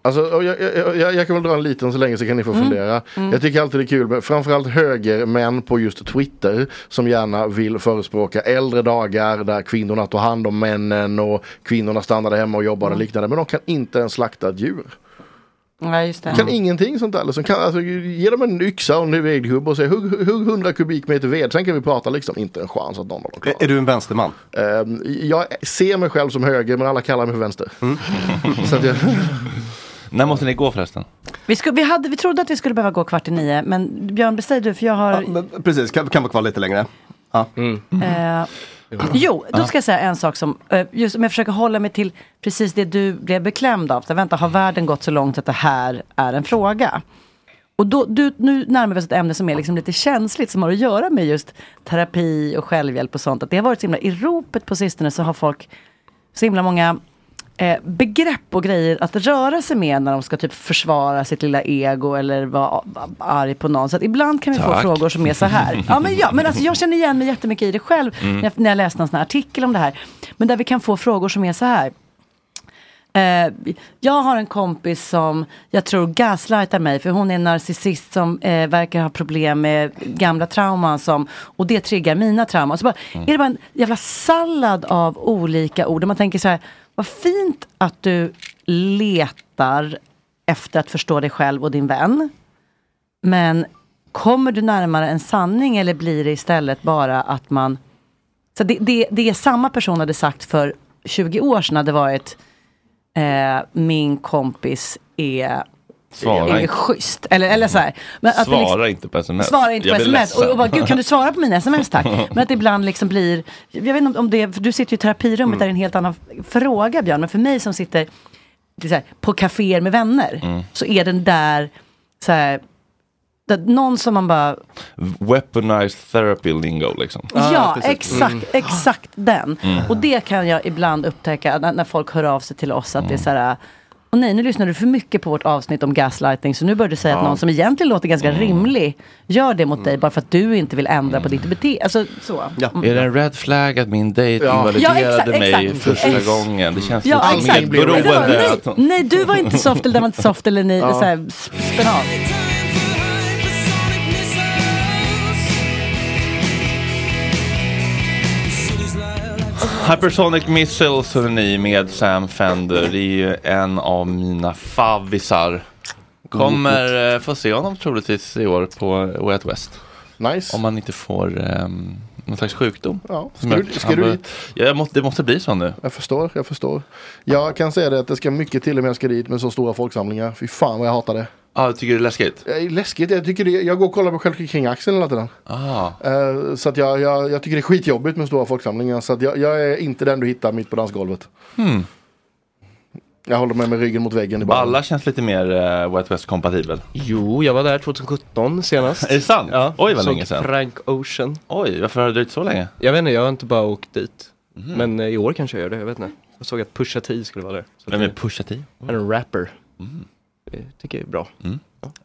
Alltså, och jag, jag, jag, jag kan väl dra en liten så länge så kan ni få fundera. Mm. Jag tycker alltid det är kul med framförallt högermän på just Twitter som gärna vill förespråka äldre dagar där kvinnorna tar hand om männen och kvinnorna stannade hemma och jobbade Mm. och liknande. Men de kan inte ens slakta ett djur. ja, just det. De kan ingenting sånt där. Liksom. Kan, alltså, ge dem en yxa och en vedgubbe och säg hugg, hugg 100 kubikmeter ved. Sen kan vi prata liksom. Inte en chans att någon av dem klarar Är du en vänsterman? Ehm, Jag ser mig själv som höger men alla kallar mig för vänster. Mm. Så att jag... När måste ni gå förresten? vi, sku, vi, hade, vi trodde att vi skulle behöva gå kvart i nio, men Björn, beställ du, för jag har... Precis, kan, kan vara kvar lite längre. Ja. Mm. Eh, jo, då Ja. ska jag säga en sak som, eh, just om jag försöker hålla mig till precis det du blev beklämd av. Så, vänta, har världen gått så långt att det här är en fråga? Och då, du, nu närmar vi oss ett ämne som är liksom lite känsligt som har att göra med just terapi och självhjälp och sånt. Att det har varit så himla, i ropet på sistone så har folk så himla många eh, begrepp och grejer att röra sig med när de ska typ försvara sitt lilla ego eller vara a- arg på någon. Så att ibland kan vi få Tack. frågor som är så här. Ja, men ja, men alltså, jag känner igen mig jättemycket i det själv Mm. när, jag, när jag läste någon sån här artikel om det här. Men där vi kan få frågor som är så här. Eh, jag har en kompis som jag tror gaslightar mig för hon är en narcissist som eh, verkar ha problem med gamla trauman som, och det triggar mina trauman. Så bara, Mm. är det bara en jävla sallad av olika ord och man tänker så här, vad fint att du letar efter att förstå dig själv och din vän. Men kommer du närmare en sanning eller blir det istället bara att man... Så det, det, det är samma person hade sagt för 20 år sedan hade varit eh, min kompis är, Svara är inte. schysst. Eller, eller så här. Men att det Svara liksom- inte på sms. Svara inte på Jag blir sms. Och, ledsen. och bara, gud kan du svara på mina sms tack? Men att det ibland liksom blir, jag vet inte om- om det, för du sitter ju i terapirummet, Mm. där är en helt annan f- fråga Björn. Men för mig som sitter det är så här, på kaféer med vänner, Mm. så är den där, så här, där någon som man bara, Weaponized therapy lingo liksom. ja, exakt, Mm. exakt den. Mm. Och det kan jag ibland upptäcka när, när folk hör av sig till oss att Mm. det är så här, åh nej, nu lyssnar du för mycket på vårt avsnitt om gaslighting, så nu börjar du säga att Ja. någon som egentligen låter ganska Mm. rimlig, gör det mot dig bara för att du inte vill ändra på ditt beteende. Alltså, så. Är det en red flag att min dejt Ja. invaliderade Ja, exakt, mig exakt. första Ex- gången? Det känns Ja, lite exakt. Det var- medberoende. nej, nej, du var inte soft eller den var inte soft eller ni, Ja. så här, sp- spenat. Hypersonic Missiles hör ni med Sam Fender. Det är ju en av mina favvisar. Kommer eh, få se honom troligtvis i år på Way Out West. Nice. Om man inte får um, någon slags sjukdom. Ja. Som Ska gör du- att ska han du bör- dit? Ja, jag måste, det måste bli så nu. Jag förstår, jag förstår. Jag kan säga det att det ska mycket till om jag ska dit med så stora folksamlingar. Fy fan vad jag hatar det. Ja, du tycker det är läskigt? Jag är läskigt, jag, tycker det, jag går och kollar på själv kring axeln hela tiden. Ah. Eh, så att jag, jag, jag tycker det är skitjobbigt med stora folksamlingar. Så att jag, jag är inte den du hittar mitt på dansgolvet. Hmm. Jag håller mig med ryggen mot väggen i baren. Alla känns lite mer uh, Way Out West-kompatibel. Jo, jag var där 2017 senast. Är det sant? Ja. Oj, vad Såg länge sedan. Frank Ocean. Oj, varför har det dröjt så länge? Jag vet inte, jag har inte bara åkt dit. Mhm. Men eh, i år kanske jag gör det, jag vet inte. Jag såg att Pusha T skulle vara där. Så Vem är det- Pusha T? Mm. Han är en rapper. Det tycker jag är bra.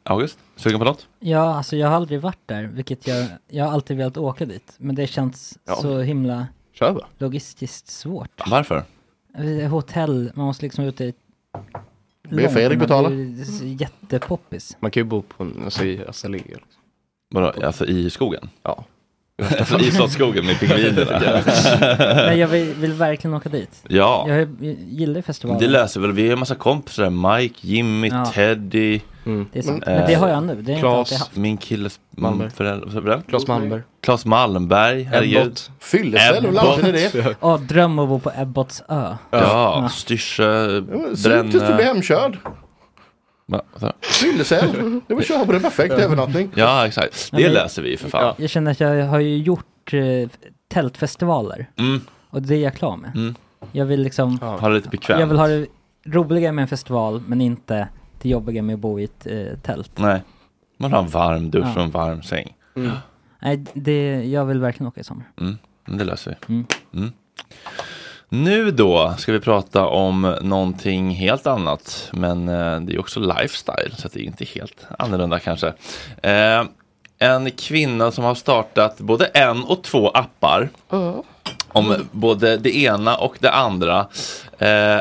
August, sugen på något? Ja, alltså jag har aldrig varit där, vilket jag, jag har alltid velat åka dit. Men det känns Ja. så himla Kör bara. logistiskt svårt. Varför? Eh, Hotell, man måste liksom ut i... Det blir Fredrik långt, betala. man blir Jättepoppis. Man kan ju bo på en, alltså i Azalea. Liksom. Vadå, alltså i skogen? Ja. Alltså i slottsskogen med pingvinerna. Nej, jag vill, vill verkligen åka dit. Ja. Jag, jag gillar ju festivalen. Det löser väl, vi har en massa kompisar där. Mike, Jimmy, Ja. Teddy. Mm. Det är sant. Men det har jag nu, det har jag inte alltid Klas, haft. min killes mm, Malmberg. förälder. Claes Malmberg. Klas Malmberg, herregud. Ebbot. Fyllecell, hur larvigt är det? Ja, dröm att bo på Ebbots ö. Ja, Styrsö, Synd tills du blir Brännö. hemkörd. Va, vad sa du? Fyllecell. Det var köra på en perfekt övernattning. Ja, exakt. Ja, Det men- löser vi ju för fan. Jag känner att jag har ju gjort eh, tältfestivaler. Mm. Och det är jag klar med. Mm. Jag vill liksom... Ha det lite bekvämt. Jag vill ha det roligare med en festival, men inte det jobbiga med att bo i ett eh, tält. Nej, man har en varm dusch Ja. och en varm säng. Mm. Nej, det, jag vill verkligen åka i sommar. Mm, men det löser vi. Mm. Nu då ska vi prata om någonting helt annat. Men eh, det är också lifestyle, så att det är inte helt annorlunda kanske. Eh, en kvinna som har startat både en och två appar. Om både det ena och det andra. Eh,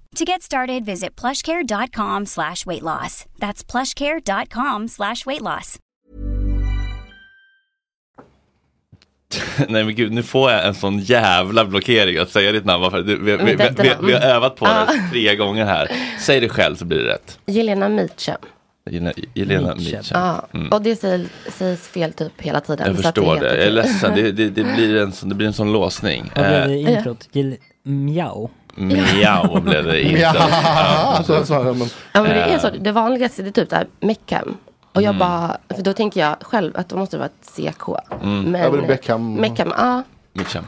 To get started, visit plushcare.com slash weight loss. That's plushcare.com slash weight loss. Nej men gud, nu får jag en sån jävla blockering att säga ditt namn. Varför? Du, vi, vi, vi, vi, vi har övat på Ja. det tre gånger här. Säg det själv så blir det rätt. Jelena Mitchell. Jelena- Jelena Mitchell. Mitchell. Ja, Mm. och det sägs, sägs fel typ hela tiden. Jag så att är förstår helt det, jag är okej. ledsen. Det, det, det, blir, en, sån- det blir en sån låsning. Vad blev Eh, det i introt? Gil- Mjau? Miau blev det inte. Ja, så sa jag, men- Ja, men det Eh. är så. Det vanligaste det är typ där Meckham. Och jag bara, för då tänker jag själv att då måste det vara ett CK. Mm. Men, Ah. Ja, men Beckham- Meckham, ja. Mitchell.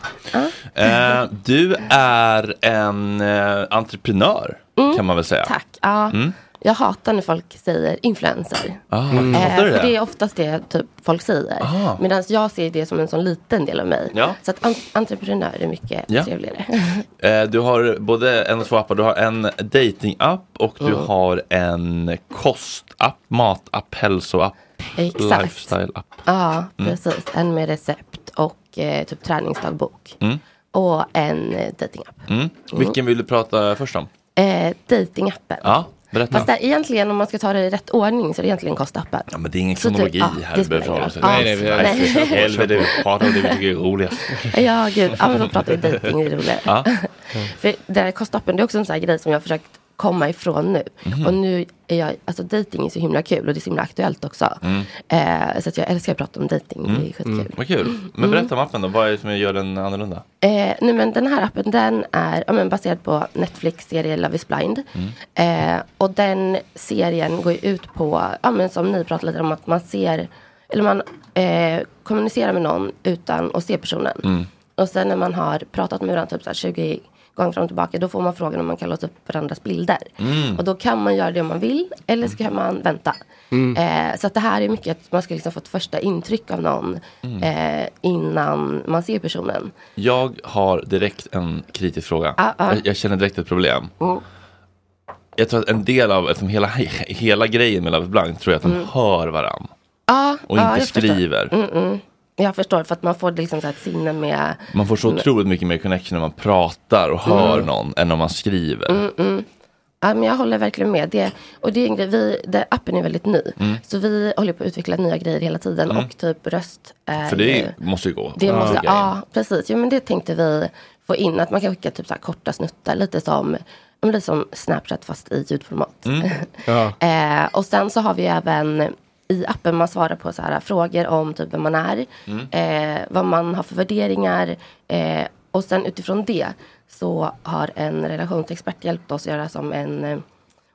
Eh, du är en eh, entreprenör kan man väl säga. Mm. Tack. Ja. Mm. Jag hatar när folk säger influencer. Eh, Ah, Mm. Fattar du för det är det? oftast det typ folk säger. Ah. Medan jag ser det som en sån liten del av mig. Ja. Så att en- entreprenör är mycket Ja. trevligare. Eh, du har både en och två appar. Du har en dating-app och du Mm. har en kostapp, matapp, hälsoapp, Exakt. lifestyle-app. Ja, Mm. precis. En med recept och eh, typ träningsdagbok. Mm. Och en eh, datingapp. Mm. Vilken vill du prata först om? Eh, datingappen. Ja, berätta. Fast där, egentligen om man ska ta det i rätt ordning så är det egentligen kostappen. Ja, men det är ingen Så typ, kronologi ja, här det vi behöver spelar förhålla ingen oss till. roll. Ja, nej. för helvete. Prata om det vi tycker är roligast. Ja, gud. Ja, men då pratar vi dejting. Det är roligare. Ja. För det här kostappen, det är också en sån här grej som jag har försökt komma ifrån nu. Mhm. Och nu är jag, alltså dejting är så himla kul och det är så himla aktuellt också. Mm. Eh, så att jag älskar att prata om dejting. Det är Mm. skitkul. Vad kul. Men berätta om appen då. Vad är det som gör den annorlunda? Eh, nej men den här appen den är ja, men baserad på Netflix serie Love is blind. Eh, och den serien går ju ut på, ja, men som ni pratade lite om, att man ser, eller man eh, kommunicerar med någon utan att se personen. Mm. Och sen när man har pratat med varandra typ så här 20 gånger fram och tillbaka, då får man frågan om man kan låsa upp varandras bilder. Mm. Och då kan man göra det om man vill, eller så kan man vänta. Mm. Eh, så att det här är mycket att man ska liksom få ett första intryck av någon Mm. eh, innan man ser personen. Jag har direkt en kritisk fråga. Ja, ja. Jag, jag känner direkt ett problem. Ah, Mm. Jag tror att en del av, eftersom hela, hela grejen med Love is blind tror jag att de Mm. hör varann. Ja, Och ja, inte jag förstår. skriver. Mm, mm. Jag förstår, för att man får liksom så här ett sinne med... Man får så med- otroligt mycket mer connection när man pratar och hör Mm. någon än om man skriver. Mm, mm. Ja, men jag håller verkligen med. Det, och det är en grej, vi, det, appen är väldigt ny. Mm. Så vi håller på att utveckla nya grejer hela tiden Mm. och typ röst är För det ju- måste ju gå. Det att måste, ah. skicka in. ja, precis. Jo, men det tänkte vi få in, att man kan skicka typ så här korta snuttar, lite som, ja, men lite som Snapchat fast i ljudformat. Mm. Eh, och sen så har vi även i appen man svarar på så här, frågor om typ vem man är, Mm. eh, vad man har för värderingar eh, och sen utifrån det så har en relationsexpert hjälpt oss göra som en, eh,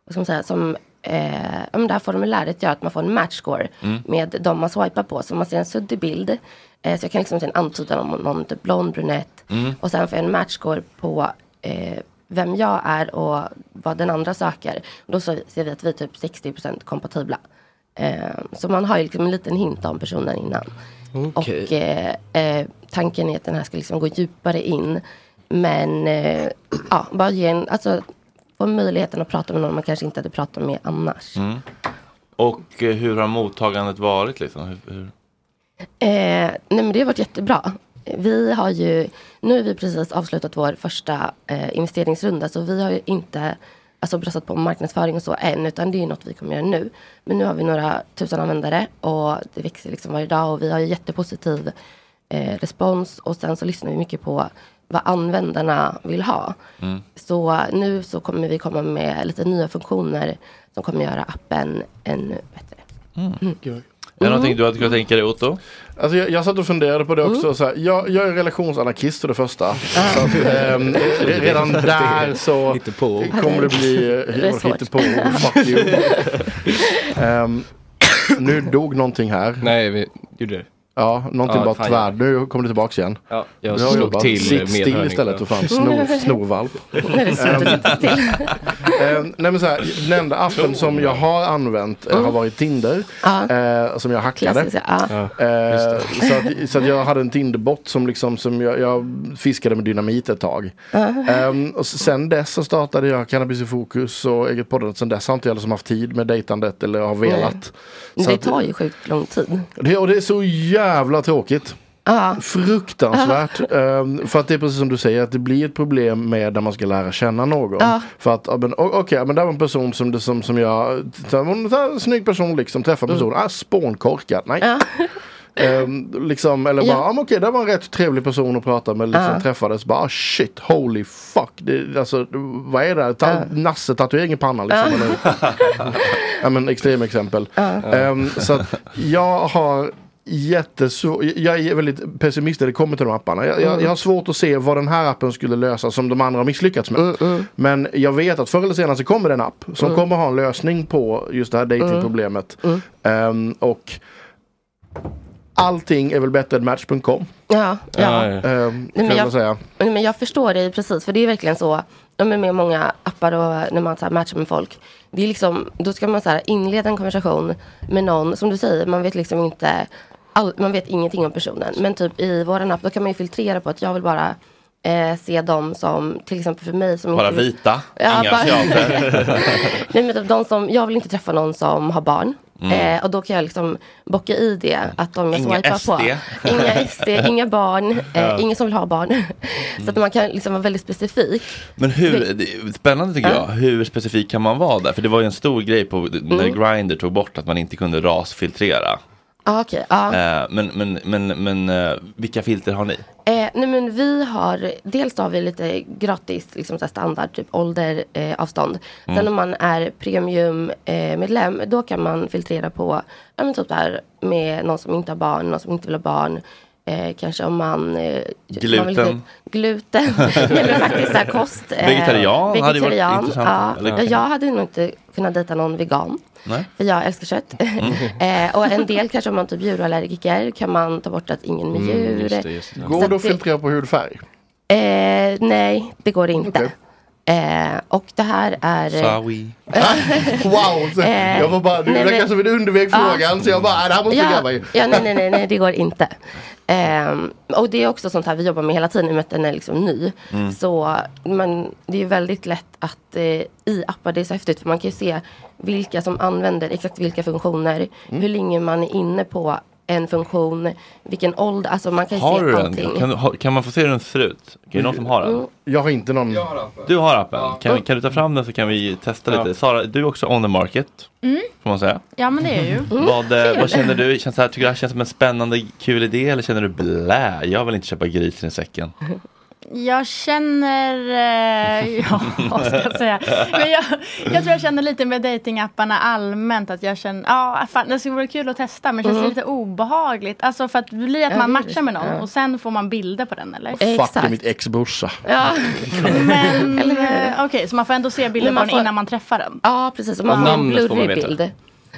vad ska man säga, som eh, ja, men det här formuläret gör att man får en matchscore Mm. med de man swipar på. Så man ser en suddig bild, eh, så jag kan liksom se en antydan om någon typ blond, brunett Mm. och sen får jag en matchscore på eh, vem jag är och vad den andra söker. Då så ser vi att vi är typ 60% kompatibla. Eh, så man har ju liksom en liten hint om personen innan. Okej. Och eh, eh, tanken är att den här ska liksom gå djupare in. Men eh, ja, bara ge en, alltså få möjligheten att prata med någon man kanske inte hade pratat med annars. Mm. Och eh, hur har mottagandet varit liksom? Hur, hur? Eh, nej men det har varit jättebra. Vi har ju, nu har vi precis avslutat vår första eh, investeringsrunda så vi har ju inte alltså, brassat på marknadsföring och så än utan det är ju något vi kommer göra nu. Men nu har vi några tusen användare och det växer liksom varje dag och vi har ju jättepositiv eh, respons och sen så lyssnar vi mycket på vad användarna vill ha. Mm. Så nu så kommer vi komma med lite nya funktioner som kommer göra appen ännu bättre. Mm. Gud. Är det någonting du hade kunnat tänka dig Otto? Alltså jag, jag satt och funderade på det Mm. också. Så här, jag, jag är relationsanarkist för det Ah. första. så att, ehm, re- redan där så kommer det bli Det är svårt. eh, på Fuck you. Ehm, nu dog någonting här. Nej, vi gjorde det. Ja, någonting Ja, bara fan, tvär. Nu kommer det tillbaks igen. Ja, jag Bra slog jobbat. till Sitt med still hörning. istället för fan Ja. snor, snorvalp. Nu är det svårt att Ehm, sitta still. ehm, Nej men så här, den enda appen som jag har använt eh, har varit Tinder. eh, Som jag hackade. Klassiska, ja. Eh, Just så, att, så att jag hade en Tinderbot som liksom, som jag, jag fiskade med dynamit ett tag. Ehm, och sen dess så startade jag Cannabis i fokus och eget poddandet. Sen dess har inte jag liksom haft tid med dejtandet eller har velat. Men Så det att- tar ju sjukt lång tid. det, och det är så jävla tråkigt. Fruktansvärt. Ehm, för att det är precis som du säger, att det blir ett problem med när man ska lära känna någon. Ja. För att, ja, men, o- okej, men där var en person som, det, som, som jag, hon är en snygg person liksom, träffar Mm. personen, ah, spånkorkad, nej. Ehm, liksom, eller bara, Ja. ja. ah, men okej, det var en rätt trevlig person att prata med, liksom, Ja. träffades, bara ah, shit, holy fuck, det, alltså, vad är det här? Ta, Nasse-tatuering i pannan liksom. Ja. Eller, ja, men extrema exempel. Ehm, så att jag har jättesvårt, jag är väldigt pessimist när det kommer till de apparna. Jag, jag, jag har svårt att se vad den här appen skulle lösa som de andra har misslyckats med. Men jag vet att förr eller senare så kommer det en app som Mm. kommer ha en lösning på just det här datingproblemet. Ehm, och allting är väl bättre än Match.com. Ja, ja. Ehm, Nej, kan men jag... säga. Nej, men jag förstår dig precis, för det är verkligen så. ja, men Med många appar och när man så här matchar med folk. Det är liksom, då ska man så här inleda en konversation med någon, som du säger, man vet liksom inte, all, man vet ingenting om personen. Men typ i våran app, då kan man ju filtrera på att jag vill bara eh, se dem som, till exempel för mig som Bara inte vill- vita, Ja, inga bara- asiater. Nej, men typ de som, jag vill inte träffa någon som har barn. Mm. Eh, och då kan jag liksom bocka i det att de jag Inga swipar på. SD. Inga SD, inga barn, eh, Ja. ingen som vill ha barn. Så att man kan liksom vara väldigt specifik. Men hur, det är spännande Ah. tycker jag, hur specifik kan man vara där? För det var ju en stor grej på, när Mm. Grindr tog bort att man inte kunde rasfiltrera. Ah, okej, ja. Eh, Men, men, men, men eh, vilka filter har ni? Eh, nej men vi har, dels har vi lite gratis liksom så här standard, typ ålder, eh, avstånd. Mm. Sen om man är premiummedlem, eh, medlem, då kan man filtrera på, ja men typ det här med någon som inte har barn, någon som inte vill ha barn. Eh, kanske om man... Eh, Man vill, Gluten. typ- gluten. nej men faktiskt så här kost. eh, Vegetarian hade ju varit vegetarian, intressant. Ja, Eller- Ja, jag hade nog inte kunnat dejta någon vegan. Nej? Mm. För jag älskar kött. eh, och en del kanske om man typ djurallergiker kan man ta bort att ingen med Mm, djur. just det, just det. Så Går att det att filtrera på hudfärg? Eh, nej, det går det inte. Eh, och det här är... Sorry. wow, så, Eh, jag var bara, du nej, men- verkar som en underväg Ja. frågan så jag bara, "Ah, det här måste jag ja, gräva i. ja, nej, nej, nej, nej, det går inte. Ehm, och det är också sånt här vi jobbar med hela tiden i och med att den är liksom ny. Mm. Så man, det är ju väldigt lätt att eh, i appar, det är så häftigt för man kan ju se vilka som använder exakt vilka funktioner, Mm. hur länge man är inne på en funktion, vilken ålder, alltså man kan ju Har se du allting. den? Kan, du- har- kan man få se hur den ser ut? Är det någon som har den? Jag har inte någon. Du har appen. Kan, kan du ta fram den så kan vi testa lite. Sara, du är också on the market. Mm. Får man säga. Ja men det är ju. Mm. Vad, eh, Kul. vad känner du? Känns det här, tycker du det här känns som en spännande kul idé eller känner du blä? Jag vill inte köpa grisen i säcken. Jag känner, eh, ja vad ska jag säga. Men jag, jag tror jag känner lite med datingapparna allmänt att jag känner, ja fan det skulle vara kul att testa men det känns Mm. lite obehagligt. Alltså för att det blir att Ja, man det är matchar med någon det. Ja. och sen får man bilder på den eller? Fuck det är mitt ex brorsa. Ja. Men Eller hur? eh, okej, så man får ändå se bilder Men på man den får- innan man träffar den? Ja, precis. Och man Och får en namnet får man blurrig veta. bild.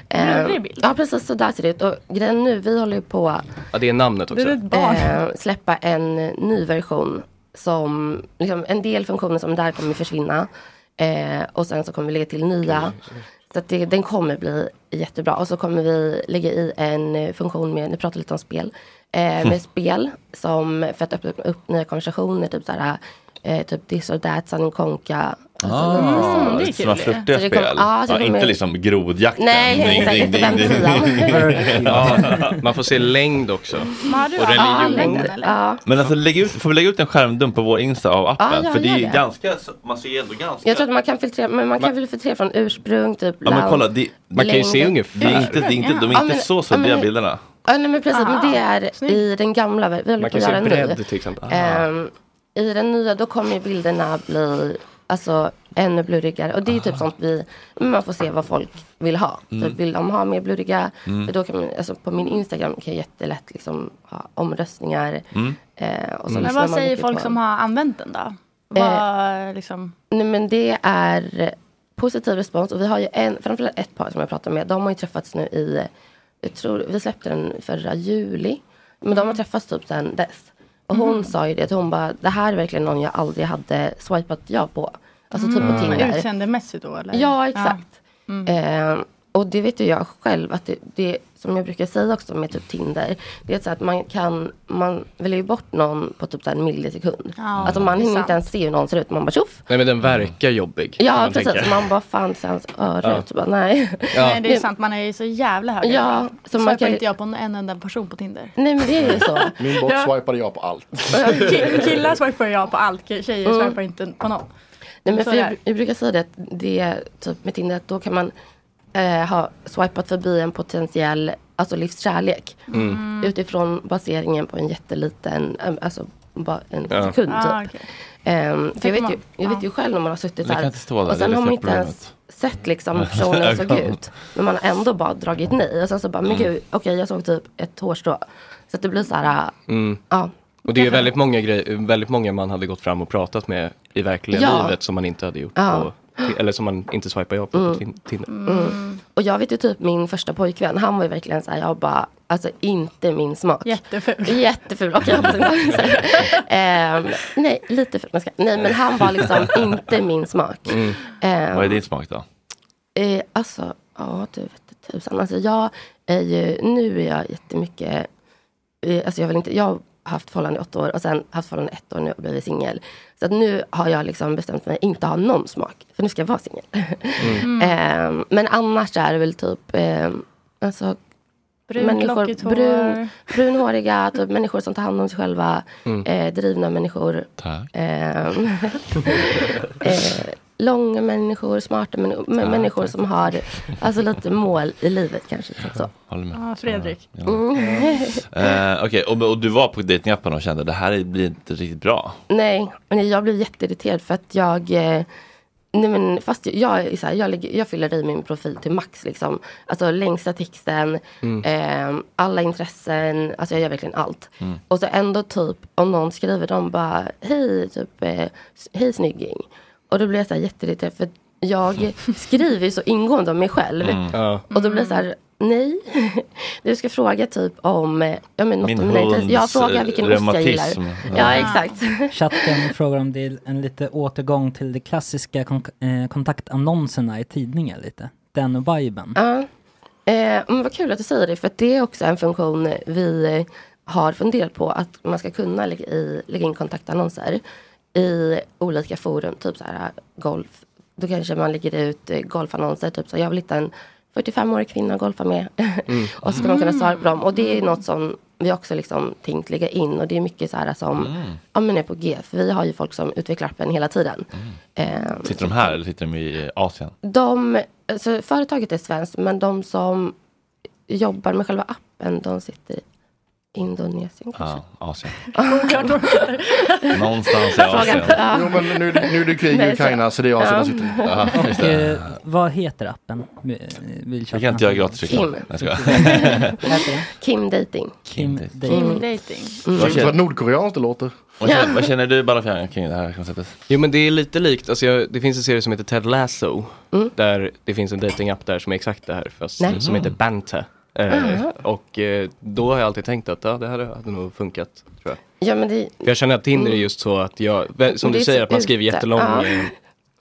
Eh, Blurrig bild? Ja, precis så där ser det ut. Och grejen nu, vi håller ju på Ja, det är namnet också. eh, släppa en ny version. Som, liksom, en del funktioner som där kommer försvinna. Eh, och sen så kommer vi lägga till nya. Så att det, den kommer bli jättebra. Och så kommer vi lägga i en eh, funktion med, nu pratar vi lite om spel. Eh, med Mm. spel som, för att öppna upp nya konversationer. Typ så här, eh, typ this or that, sanning konka. Ah, Mm, det är lite sådana kul. flörtiga Så det spel. kommer- ja, så ja, det inte kommer- liksom grodjakten. Nej, exakt, inte den sidan. Ja, man får se längd också. Har du Och den Ja, ligger längden, under. eller? Ja. Men alltså lägg ut, får vi lägga ut en skärmdump på vår Insta av appen? Ja, ja, För det är gör ju det. ganska, så- man ser ju ändå ganska. Jag tror att man kan filtrera, men man kan Ma- väl filtrera från ursprung, typ Ja men land, kolla, det, längd. Det är inte, det är inte, de är Ja, inte men- så ja, men- suddiga bilderna. Ja, nej men precis, men det Ah, är i den gamla, vi håller på att göra en ny. till exempel. Ehm, I den nya, då kommer ju bilderna bli alltså, ännu blurrigare. Och det är Ah. ju typ sånt vi, man får se vad folk vill ha. Mm. Typ, vill de ha mer blurriga? Mm. För då kan man, alltså, på min Instagram kan jag jättelätt liksom, ha omröstningar. Mm. Eh, och så Men lyssnar vad man säger vilket folk man- som har använt den Eh, då? Vad, liksom, Nej men det är positiv respons och vi har ju en, framförallt ett par som jag pratar med, de har ju träffats nu i, jag tror, vi släppte den förra juli. Men de har träffats typ sedan dess. Och hon Mhm. sa ju det, att hon bara, det här är verkligen någon jag aldrig hade swipat ja på. Alltså typ på Mm. Tinder. Utseendemässigt då eller? Ja, exakt. Ja. Mm. Eh, och det vet ju jag själv att det, det som jag brukar säga också med typ Tinder. Det är så att man kan, man väljer ju bort någon på typ så här en millisekund. Ja, alltså man det är hinner sant. inte ens se hur någon ser ut. Man bara tjoff. Nej men den verkar jobbig. Ja kan man precis, tänka. så man bara fan ser hans öra Ja. ut. Så bara, nej. Nej, det är sant. Man är ju så jävla hög. Ja, så så man man kan ju- inte jag på en enda person på Tinder. Nej men det är ju så. Min bot Ja. swipade jag på allt. Ki- Killar swipar jag på allt. Tjejer Mm. swipar inte på någon. Nej, men Så för där. jag, jag brukar säga det, att det är typ med Tinder, att då kan man eh, ha swipat förbi en potentiell alltså livskärlek. Mm. Utifrån baseringen på en jätteliten, eh, alltså bara en Ja. sekund Ah, typ. okej. Ehm, för jag, Tänker vet ju, man- jag vet ju själv när man har suttit Jag så här. kan inte stå där, och sen det är har man det inte som är ens sett liksom hur personen såg Ögonen. ut. Men man har ändå bara dragit nej. Och sen så bara, men Mm. gud, okej jag såg typ ett hårstrå. Så att det blir så här, eh, Mm. ja. Och det är ju väldigt många, grej, väldigt många man hade gått fram och pratat med i verkliga Ja. livet som man inte hade gjort Ja. på, eller som man inte swipar jag på på Tin- Tinder. Mm. Och jag vet ju typ min första pojkvän, han var ju verkligen såhär, jag bara, alltså inte min smak. Jätteful. Jätteful, okej. jag hoppas inte. Ehm, nej, lite ful. Jag ska- Nej, men han var liksom inte min smak. Mm. Ehm, Vad är din smak då? Eh, alltså, ja du vet tusan. Alltså jag är ju, nu är jag jättemycket, eh, alltså jag vill inte, jag har haft förhållande i åtta år och sen haft förhållande i ett år nu och blivit singel. Så att nu har jag liksom bestämt mig inte ha någon smak, för nu ska jag vara singel. Mm. Eh, men annars är det väl typ, eh, alltså Brunt, lockigt hår. brun, brunhåriga, typ människor som tar hand om sig själva, Mm. eh, drivna människor. Ehm, eh, långa människor, smarta människor, men Tack, människor tack. som har alltså, lite mål i livet kanske. typ Så. Håller med. Ja, Fredrik. Mm. Eh, Okej, och, och du var på dejtingappen och kände det här blir inte riktigt bra. Nej, men jag blev jätteirriterad för att jag eh, Nej men fast jag, jag, är så här, jag, lägger, jag fyller i min profil till max liksom. Alltså längsta texten, Mm. ehm, alla intressen, alltså jag gör verkligen allt. Mm. Och så ändå typ om någon skriver de bara hej, typ eh, s- hej snygging. Och då blir jag så här jätteirriterad för att jag skriver ju så ingående om mig själv. Mm. Ja. Och då blir jag så här nej. Du ska fråga typ om, eh, ja men något Min om mina intressen. Jag hunds, frågar eh, vilken ost jag gillar. reumatism. Ja Ja. exakt. Ah. Chatten frågar om det är en lite återgång till de klassiska kon- eh, kontaktannonserna i tidningar lite. Den viben. Ja. Eh, men vad kul att du säger det, för att det är också en funktion vi eh, har funderat på att man ska kunna lägga, i, lägga in kontaktannonser i olika forum, typ så här golf. Då kanske man lägger ut eh, golfannonser, typ så här, jag vill hitta en 45-årig kvinna att golfa med. och så ska man kunna Mm. Mm. svara på dem. Och det är något som vi också liksom tänkt lägga in och det är mycket så här som Mm. ja, men är på G. För vi har ju folk som utvecklar appen hela tiden. Eh, Mm. Sitter de här eller sitter de i eh, Asien? de, alltså företaget är svenskt, men de som jobbar med själva appen, de sitter i Indonesien kanske. Ja, Asien. Ja. Någonstans i Asien. Jo men nu, nu är det krig i Nej, så- Ukraina så det är jag som sitter i. Ja, just Och det. eh, vad heter appen? eh, Vill Det kan inte jag gratisreklam. Kim. Nej, jag skojar. Kim Dating. Kim Dating. Kim Dating. Mm. Vad känner- Vad nordkoreanskt det låter. Vad känner- Vad känner du bara för kring det här konceptet? Jo men det är lite likt, alltså jag, det finns en serie som heter Ted Lasso. Mm. Där det finns en datingapp där som är exakt det här, fast Nej. som heter Banta. Eh, Aha. och eh, då har jag alltid tänkt att ja, det här hade nog funkat, tror jag. Ja, men det, För jag känner att Tinder är Mm. just så att jag, vä- som Det du är säger så att man skriver ute. jättelång, Ja. eh,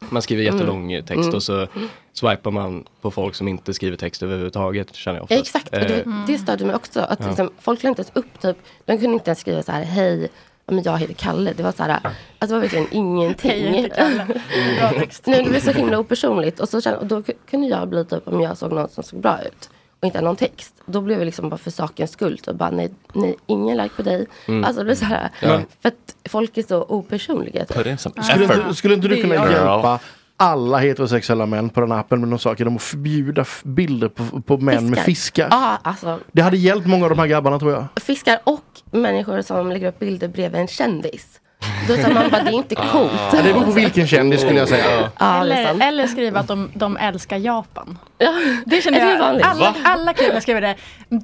man skriver Mm. jättelång eh, text Mm. och så swipar man på folk som inte skriver text överhuvudtaget, känner jag oftast. exakt, och det, Eh, det störde mig också. Att Ja. liksom, folk lade inte ens upp, typ, de kunde inte ens skriva så här, hej, ja, men jag heter Kalle. Det var så här, alltså, det var verkligen ingenting. Hej, jag heter Kalle. Bra text. Nej, det blev så himla opersonligt. Och, så, kände- och då ku- kunde jag bli typ om jag såg någon som såg bra ut och inte hade någon text. Då blev jag liksom bara för sakens skull. Och bara nej, nej, ingen like på dig. Mm. Alltså det blir så här. Ja. För att folk är så opersonliga. typ. Put in some Skulle inte, effort. skulle inte du kunna Girl. hjälpa alla heterosexuella män på den här appen med någon sak? De att förbjuda f- bilder på, på män med fiskar. Ja, alltså. Det hade hjälpt många av de här grabbarna tror jag. Fiskar och människor som lägger upp bilder bredvid en kändis. Då sa man bara det är inte coolt. Ja, Ah. det beror på vilken kändis skulle jag säga. Ja, det är sant. Eller, eller skriva att de, de älskar Japan. Det känner Är det jag. vanligt? Alla, Va? alla killar skriver det.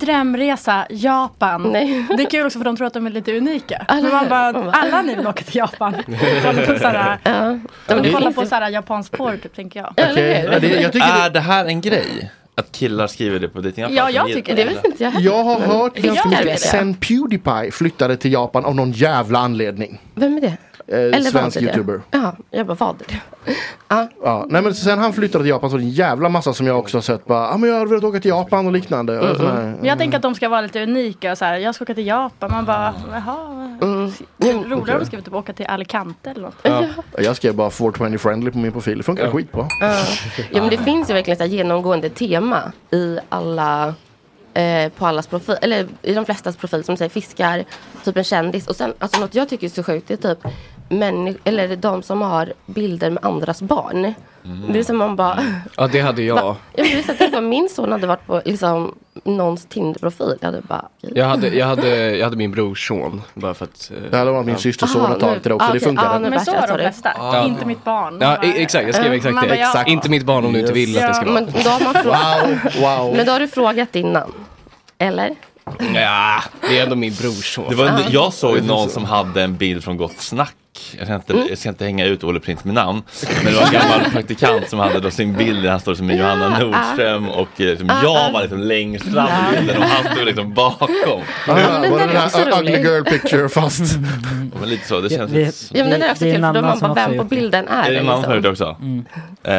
Drömresa, Japan. Nej. Det är kul också för de tror att de är lite unika. Alla- Men man man bara- bara, alla ni vill åka till Japan. Kolla på såhär, ja. de det- kollar på såhär japansk porr typ, tänker jag. Är det här en grej? Att killar skriver det på dejtingappar? Ja, jag tycker det. Jag har hört Gör ganska det mycket det? sen Pewdiepie flyttade till Japan av någon jävla anledning. Vem är det? Eh, svensk vad är det? youtuber. Ja, jag bara vad är det? Ja, nej men sen han flyttade till Japan så var det en jävla massa som jag också har sett bara, ah, men jag hade velat åka till Japan och liknande. Och sådär. Men Mm-hmm. jag tänker att de ska vara lite unika och så här, jag ska åka till Japan. Man bara, jaha. Mm, Roligare okej. om de skulle typ åka till Alicante eller något. Ja. Jag skrev bara 420 friendly på min profil, det funkar Ja. skitbra. Ja. Ja, men det Ah. finns ju verkligen så här genomgående tema i alla, eh, på allas profil, eller i de flestas profil som säger fiskar, typ en kändis. Och sen, alltså något jag tycker är så sjukt det är typ människ- eller de som har bilder med andras barn. Mm. Det är som man bara, Ja, det hade jag. jag vill säga, tänk om min son hade varit på liksom, någons Tinder-profil. Jag hade bara, okej. Jag hade, jag hade, jag hade min brors son. Bara för att, eh, det hade varit min systers son ett tag till också, det funkade. Men så var de sorry. flesta. Ja. Inte mitt barn. Ja, e- exakt, jag skrev Ja, exakt man det. bara, Mm. ja. Exakt. Inte mitt barn om du inte vill att det ska Ja, vara. men då har man frågat. Men då har du frågat innan. Eller? Ja, det är ändå min brorson. Det var en, Ja. jag såg ju Det är någon så. som hade en bild från Gott Snack. Jag ska, inte, jag ska inte hänga ut Olle Prins med namn. Men det var en gammal praktikant som hade då sin bild där han står som med Johanna Nordström och eh, liksom, Ah, jag ah. var liksom längst fram i bilden och han stod liksom bakom. Ah, ja, men var det den är den också här rolig. ugly girl picture fast. Men lite så, det känns vi- lite... Ja, men den är också Det är kul, en för då annan man som bara, också vem gjort på bilden Är är det det? en man Liksom? förut också? Mm.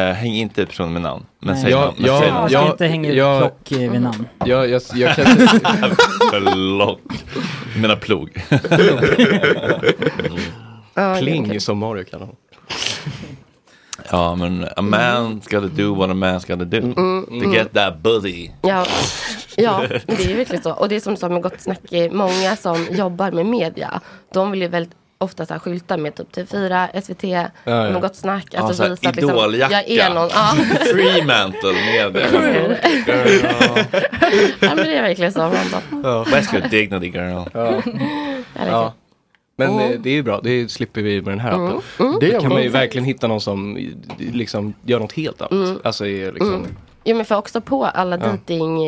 Eh, häng inte ut personen med namn. Men Nej. säg Ja, namn. Men ja, säg man namn. ska inte hänga ut jag- plock eh, vid namn. Jag, jag, jag kan Förlåt. Jag menar plog. Ja, Pling okej. som Mario kallar honom. Ja, men a man's gotta do what a man's gotta do. To get that booty. Ja, ja, men det är ju verkligen så. Och det är som du sa med Gott Snack, eh, många som jobbar med media, de vill ju väldigt ofta så här skylta med typ TV4, SVT, ja. med Gott Snack. Ja, så Alltså här visa att liksom, jag är någon. Ja. Fremantle med det. Cool. ja, men det är verkligen så. Man bara, Ja. Where's your dignity girl? Ja. jag Ja. Men Mm. eh, det är ju bra, det slipper vi med den här Mm. appen. Mm. Det Det Då kan var- man ju verkligen hitta någon som eh, liksom gör något helt annat. Mm. Alltså är liksom, Mm. Jo men för också på alla Ja. dating,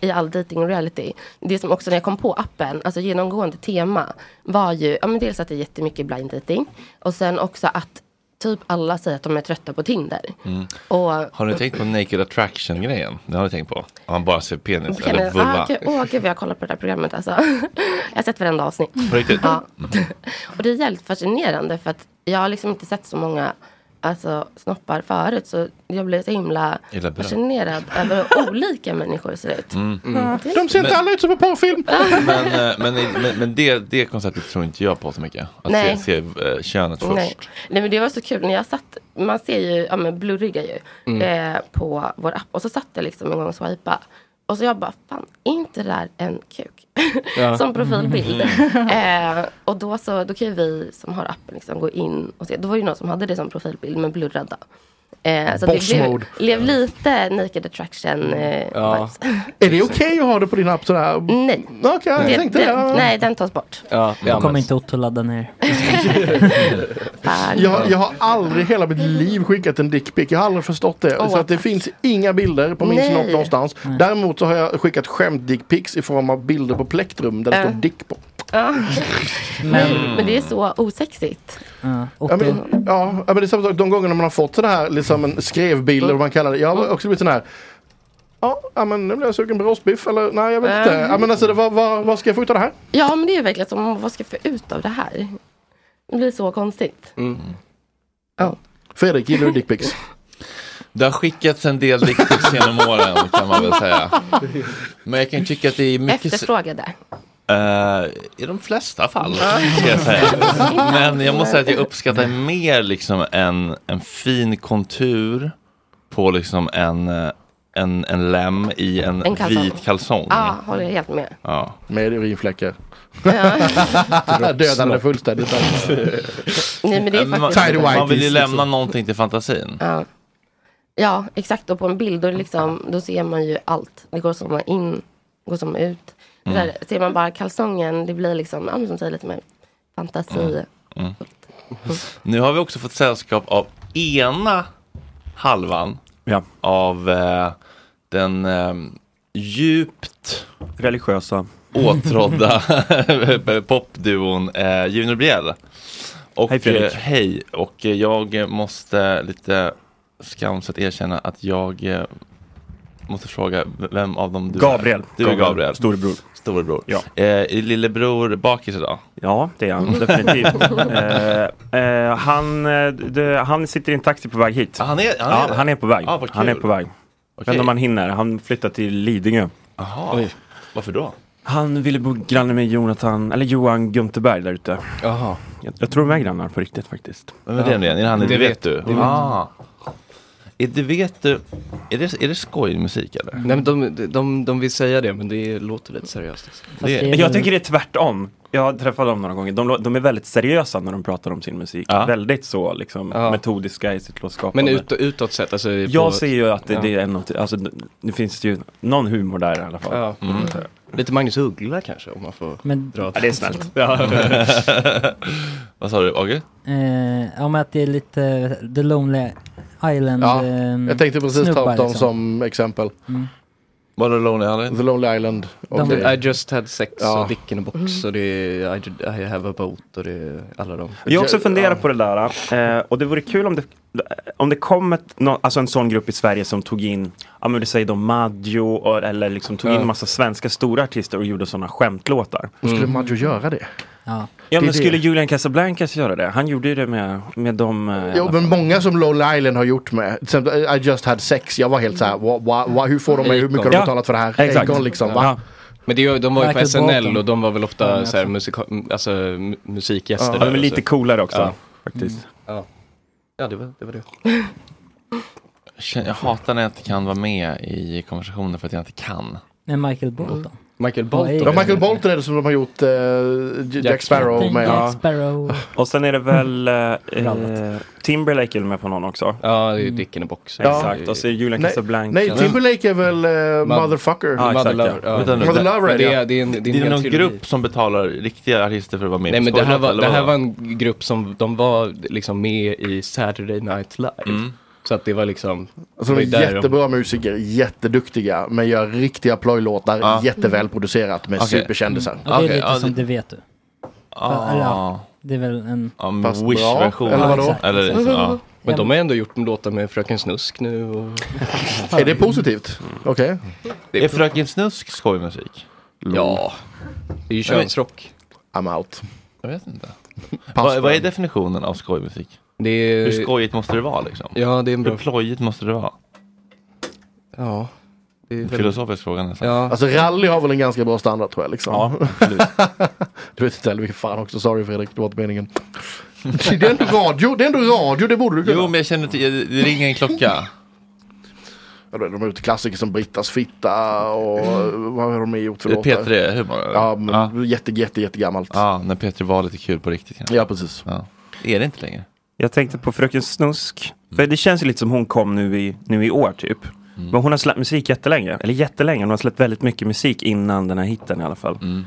i all dating och reality. Det som också när jag kom på appen, alltså genomgående tema var ju, ja men dels att det är jättemycket blind dating. Och sen också att typ alla säger att de är trötta på Tinder. Mm. Och, Har ni tänkt på naked attraction grejen? Det har ni tänkt på? Om man bara ser penis Okej, eller men- vulva. ah, gud, Åh gud, jag har kollat på det här programmet alltså. jag har sett varenda avsnitt. På riktigt? Ja. Och det är jävligt fascinerande för att jag har liksom inte sett så många alltså, snoppar förut. Så jag blev så himla Illa berörd. fascinerad över hur olika människor ser ut. Mm. De ser inte Men- alla ut som en porrfilm. Men, eh, men, men, men det, det konceptet tror inte jag på så mycket. Att Nej. se, se eh, könet först. Nej. Nej men det var så kul när jag satt, man ser ju, ja men blurriga ju Mm. eh, på vår app. Och så satt jag liksom en gång och swipade. Och så jag bara, fan är inte det där en kuk? Ja. som profilbild. Mm. Eh, och då så, då kan ju vi som har appen liksom gå in och se. Då var det ju någon som hade det som profilbild men blurrade. Eh, så att Boss det blev, mode. blev lite naked attraction eh, Ja. vibes. Är det okej att ha det på din app sådär? Nej. Okej, jag Det- tänkte den, det. nej, den tas bort. Ja, Då kommer inte Otto ladda ner. Jag, jag har aldrig i hela mitt liv skickat en dickpic. Jag har aldrig förstått det. Åh. så att det finns inga bilder på min Nej. snopp någonstans. Däremot så har jag skickat skämt dickpics i form av bilder på plektrum där det Äh. står dick på. Ja. Men- Men, men det är så osexigt. Ja men, ja, ja, men det är samma sak de gångerna man har fått sådana här liksom en skrevbild eller vad man kallar det. Jag har också blivit sån här. Ja, ja, men nu blir jag sugen på rostbiff eller nej jag vet inte. Äh. Ja, men alltså, det, vad, vad, vad ska jag få ut av det här? Ja, men det är ju verkligen som, vad ska jag få ut av det här? Det blir så konstigt. Mm. Fredrik, gillar du dickpics? Det har skickats en del dickpics genom åren kan man väl säga. Men jag kan tycka att det är mycket... Efterfrågade. Eh, I de flesta fall, ska jag säga. Men jag måste säga att jag uppskattar mer liksom en, en fin kontur på liksom en, eh, en, en lem i en, En kalsong. vit kalsong. Ja, håller jag helt med. Ja. Med urinfläckar. Ja. Dödade det fullständigt. Nej, men det är Eh, man, faktiskt- Tidy whities, man vill ju lämna liksom. någonting till fantasin. Ja. Ja, exakt. Och på en bild då, liksom, då ser man ju allt. Det går som in, går som ut. Det Mm. Där ser man bara kalsongen, det blir liksom, ja, men som säger lite mer fantasi. Mm. Nu har vi också fått sällskap av ena halvan av eh, den eh, djupt religiösa åtrådda popduon eh, Juno Briell. Och, Hej, Fredrik. eh, hej, och eh, jag måste lite skamset erkänna att jag eh, måste fråga, vem av dem du Gabriel. är? Du är Gabriel, Gabriel. storebror. Storebror. Ja. Eh, lillebror bakis idag? Ja, det är han definitivt. eh, eh, han, eh, det, han sitter i en taxi på väg hit. han är- han är ja, det? han är på väg. Ah, vad han är kul. på väg. Okej. Men om han hinner. Han flyttar till Lidingö. Jaha. Varför då? Han ville bo granne med Jonathan, eller Johan Gunterberg där ute. Jaha. Jag, jag tror de är grannar på riktigt faktiskt. Vem är det nu igen? Är det han i Det vet du? Det vet Ah. Är det vet du, är det, är det skoj musik eller? Nej men de, de- de, de vill säga det men det låter lite seriöst. Alltså. Det, jag tycker det är tvärtom. Jag har träffat dem några gånger. De, lå- de är väldigt seriösa när de pratar om sin musik. Väldigt så liksom, metodiska i sitt låtskapande. Men ut, utåt sett alltså. på- Jag ser ju att det, det Ja. är något, alltså det- det finns ju någon humor där i alla fall. Ja. Mm. Lite Magnus Uggla kanske om man får Men- dra ja, det är snällt. Vad sa du, Agge? Eh, om att det är lite eh, The Lonely Island Ja, ehm, jag tänkte precis ta snubbar, upp dem liksom. Mm. som exempel. Var det Lonely Island? The Lonely Island. och De- det- I just had sex Ja. och dick in a Mm. box och det är I, ju- I have a boat och det är alla de. Jag har också funderat på det där eh, och det vore kul om det, om det kom ett, nå- alltså en sån grupp i Sverige som tog in, ja men vi säger då Maggio och, eller liksom tog in Ja. massa svenska stora artister och gjorde sådana skämtlåtar. Och Mm. skulle Maggio göra det? Ja, Ja Det är men det. skulle Julian Casablancas göra det? Han gjorde ju det med, med de... eh, Jo, men många som Lonely Island har gjort med, till exempel eh, I just had sex, jag var helt såhär, wa, wa, wa, hur får de mig, hur mycket har de Ja, betalat för det här? exakt. Egon liksom, va? Ja. Men det, är ju- de var ju på Michael SNL Bolton. och de var väl Ja, ofta jag så här, tror. musika, alltså, mu- musikgäster. Ja, där, de är alltså. lite coolare också, Ja. Mm. faktiskt. Ja. ja, det var det. Var det. Jag känner- Jag hatar när jag inte kan vara med i konversationer för att jag inte kan. Nej, Michael Bolton. Michael Bolton. Ja, Michael Bolton är det som de har gjort eh, Jack, Sparrow med. Jack Sparrow. Och sen är det väl eh, Mm. eh, Timberlake är med på någon också? Ja, det är Dick in a box. Ja. Exakt, och så är det Julian Nej, Casablanca. nej, Timberlake är väl eh, Motherfucker? Ja, exakt, ja. Vänta nu, Mother det- Lover är men det. det ja. är, det är, en, det är, hel någon trilogi. grupp som betalar riktiga artister för att vara med Nej på men det här, Skojhat, var, eller det här vadå? var en grupp som de var liksom med i Saturday Night Live. Så att det var liksom... Alltså, det de var är där de- jättebra musiker, jätteduktiga, men gör riktiga plojlåtar, Ja. jätteväl producerat med Okej. superkändisar. Ja, Mm. det är lite som det vet du. För- eller ja, det är väl en... Ja, Fast Wish-version. bra, eller vadå? Eller liksom, ja. Men de har ändå gjort låtar med Fröken Snusk nu och... Mm. Är det positivt? Okej. Är Fröken Snusk skojmusik? Ja. Det är ju könsrock. I'm out. Jag vet inte. Pass Vad, på vad är den. definitionen av skojmusik? Det är- Hur skojigt måste det vara liksom? Eh, Ja, det är en bra- Hur plojigt måste det vara? Ja. Det är En väl- filosofisk fråga nästan. Ja. Alltså rally har väl en ganska bra standard tror jag liksom. Ja, du vet inte heller vilken fan också, sorry Fredrik, det var inte meningen. det är ändå radio, det är ändå radio, det borde du kunna. Jo, men jag känner till, det ringer en klocka. Ja, då är De har gjort klassiker som Brittas fitta och vad har de mer gjort för Det är låtar? P3-humor, Ja, men jätte, jätte, jättegammalt. Ja, när Peter var lite kul på riktigt. Ja, precis. Det är det inte längre. Jag tänkte på Fröken Snusk. För det känns ju lite som hon kom nu i, nu i år typ. Mm. Men hon har släppt musik jättelänge. Eller jättelänge, hon har släppt väldigt mycket musik innan den här hitten i alla fall. Mm.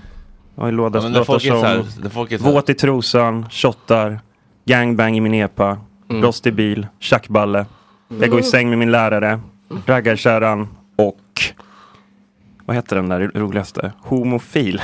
Och i låda, Ja, men när låtar folk är som så här- när folk är så här- Våt i trosan, Shottar, Gangbang i min epa, Mm. Rost i bil, Tjackballe, Mm. Jag går i säng med min lärare, Raggarkärran och vad heter den där roligaste? Homofil.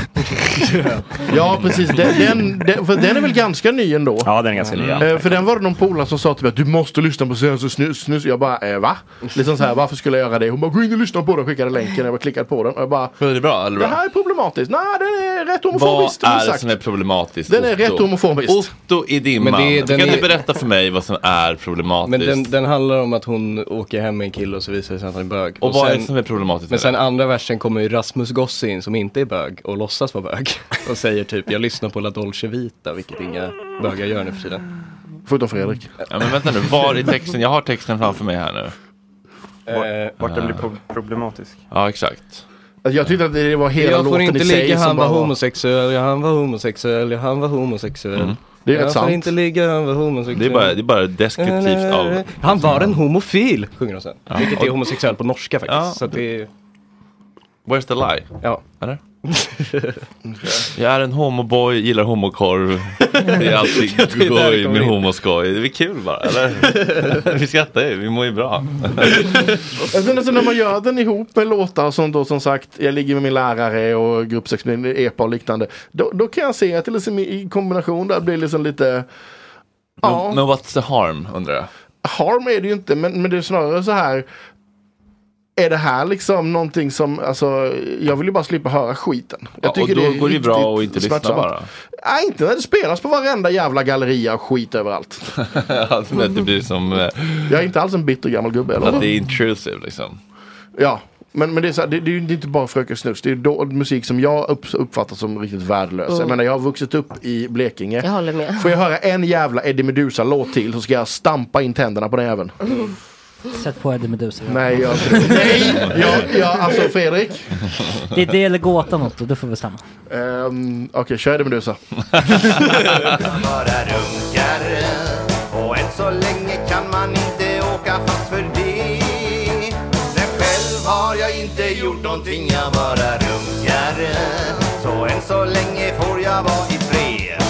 Ja, precis. Den, den, den, för den är väl ganska ny ändå? Ja, den är ganska ny. Eh, för den var det någon polare som sa till mig att du måste lyssna på senaste snus, snus. Jag bara, eh, va? Liksom så här, varför skulle jag göra det? Hon bara, gå in och lyssna på den. Skickade länken, jag bara klickade på den. Och jag bara, Är det bra? Eller det bra? här är problematiskt. Nej, den är rätt Vad homofobiskt. är det sagt. som är problematiskt? Den är Otto? rätt homofobiskt. Otto i dimman. Men det är- du den kan är- inte berätta för mig vad som är Men problematiskt. den, den handlar om att hon åker hem med en kille och så visar det sig att han är bög. Och vad är det som är problematiskt Men med sen det? andra versen kommer ju Rasmus Goss in som inte är bög och låtsas vara bög. Och säger typ jag lyssnar på La Dolce Vita vilket inga bögar gör nu för tiden. Förutom Fredrik. Ja, men vänta nu, var i texten? Jag har texten framför mig här nu. Eh, Eh, Vart, vart den blir pro- problematisk. Ja, exakt. Alltså, jag tyckte att det var hela jag får låten inte i sig ligga, som han var bara var... homosexuell, ja, han var homosexuell, ja, han var homosexuell. Mm. Det är jag rätt får sant. inte ligga, han var homosexuell. Det är bara, det är bara deskriptivt av... Han var en homofil, sjunger de sen. Ja. Vilket är homosexuell på norska faktiskt. Ja. Så att det är... Where's the lie? Ja. Eller? Mm. Jag är en homoboy, gillar homokorv. Det är alltid Jag tror det är där det goj kommer med in. homoskoj. Det är väl kul bara, eller? Vi skrattar ju, vi mår ju bra. Alltså, alltså, när man gör den ihop med låtar som då som sagt, jag ligger med min lärare och gruppsexmin, epa och liknande. Då, då kan jag se att det liksom i kombination där blir liksom lite Ja. Men, men what's the harm, undrar jag? harm är det ju inte, men, men det är snarare så här Är det här liksom någonting som, alltså, jag vill ju bara slippa höra skiten. Jag Ja, och då går det ju bra att inte lyssna smärtsamt. bara. Nej, inte när det spelas på varenda jävla galleria och skit överallt. Ja, men det blir som eh, Jag är inte alls en bitter gammal gubbe. Eller? att det är intrusive liksom. Ja, men, men det, är så här, det, det är ju inte bara Fröken Snus. Det är då, musik som jag upp, uppfattar som riktigt värdelös. Mm. Jag menar, jag har vuxit upp i Blekinge. Jag håller med. Får jag höra en jävla Eddie Meduza-låt till så ska jag stampa in tänderna på den även. Sätt på Eddie Meduza. Nej, jag Nej! Jag, jag, alltså Fredrik. Det är det eller gåtan Otto, du får bestämma. Ehm, Okej, kör Eddie Meduza. Man bara runkar Och än så länge kan man inte åka fast för det Men själv har jag inte gjort någonting Jag bara runkar Så än så länge får jag vara i fred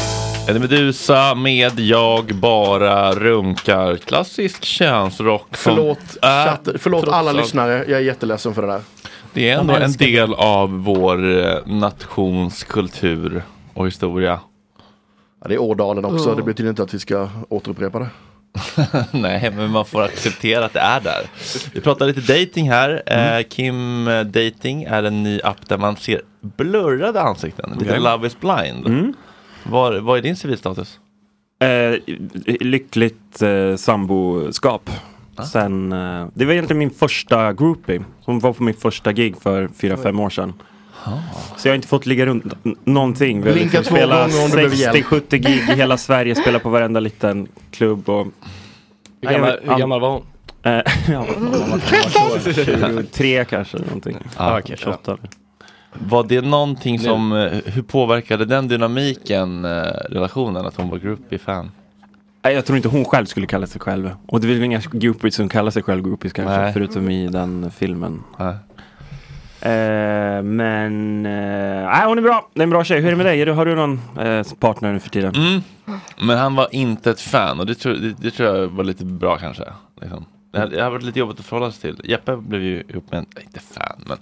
En Medusa med Jag bara runkar. Klassisk könsrock. som Förlåt, är chatt, Äh, förlåt trots alla allt- lyssnare. Jag är jätteledsen för det där. Det är ändå en del av vår eh, nations kultur och historia. Ja, det är Ådalen också. Mm. Det betyder inte att vi ska återupprepa det. Nej, men man får acceptera att det är där. Vi pratar lite dating här. Eh, Kim eh, Dating är en ny app där man ser blurrade ansikten. Lite Okej. Love is blind. Vad vad är din civilstatus? Eh, lyckligt eh, samboskap. Sen, eh, det var egentligen min första groupie. Som var på min första gig för fyra fem år sedan. Så jag har inte fått ligga runt n- någonting. Vi har Blinka liksom två spelat gånger om du behöver hjälp. 60-70 gig i hela Sverige, spelat på varenda liten klubb. Och... Hur gammal- hur gammal var hon? Eh, ja, hon var 23 kanske någonting. Ah, okej, ja. Var det någonting som, eh, hur påverkade den dynamiken eh, relationen att hon var groupie-fan? Nej, jag tror inte hon själv skulle kalla sig själv. Och det är väl inga groupies som kallar sig själv groupies kanske, Nej. förutom i den filmen. Eh, men, eh, nej hon är bra, det är en bra tjej. Hur är det med dig? Är du- Har du någon eh, partner nu för tiden? Mm. Men han var inte ett fan och det tror, det, det tror jag var lite bra kanske. Liksom. Det hade det hade varit lite jobbigt att förhålla sig till. Jeppe blev ju ihop med en, inte fan men.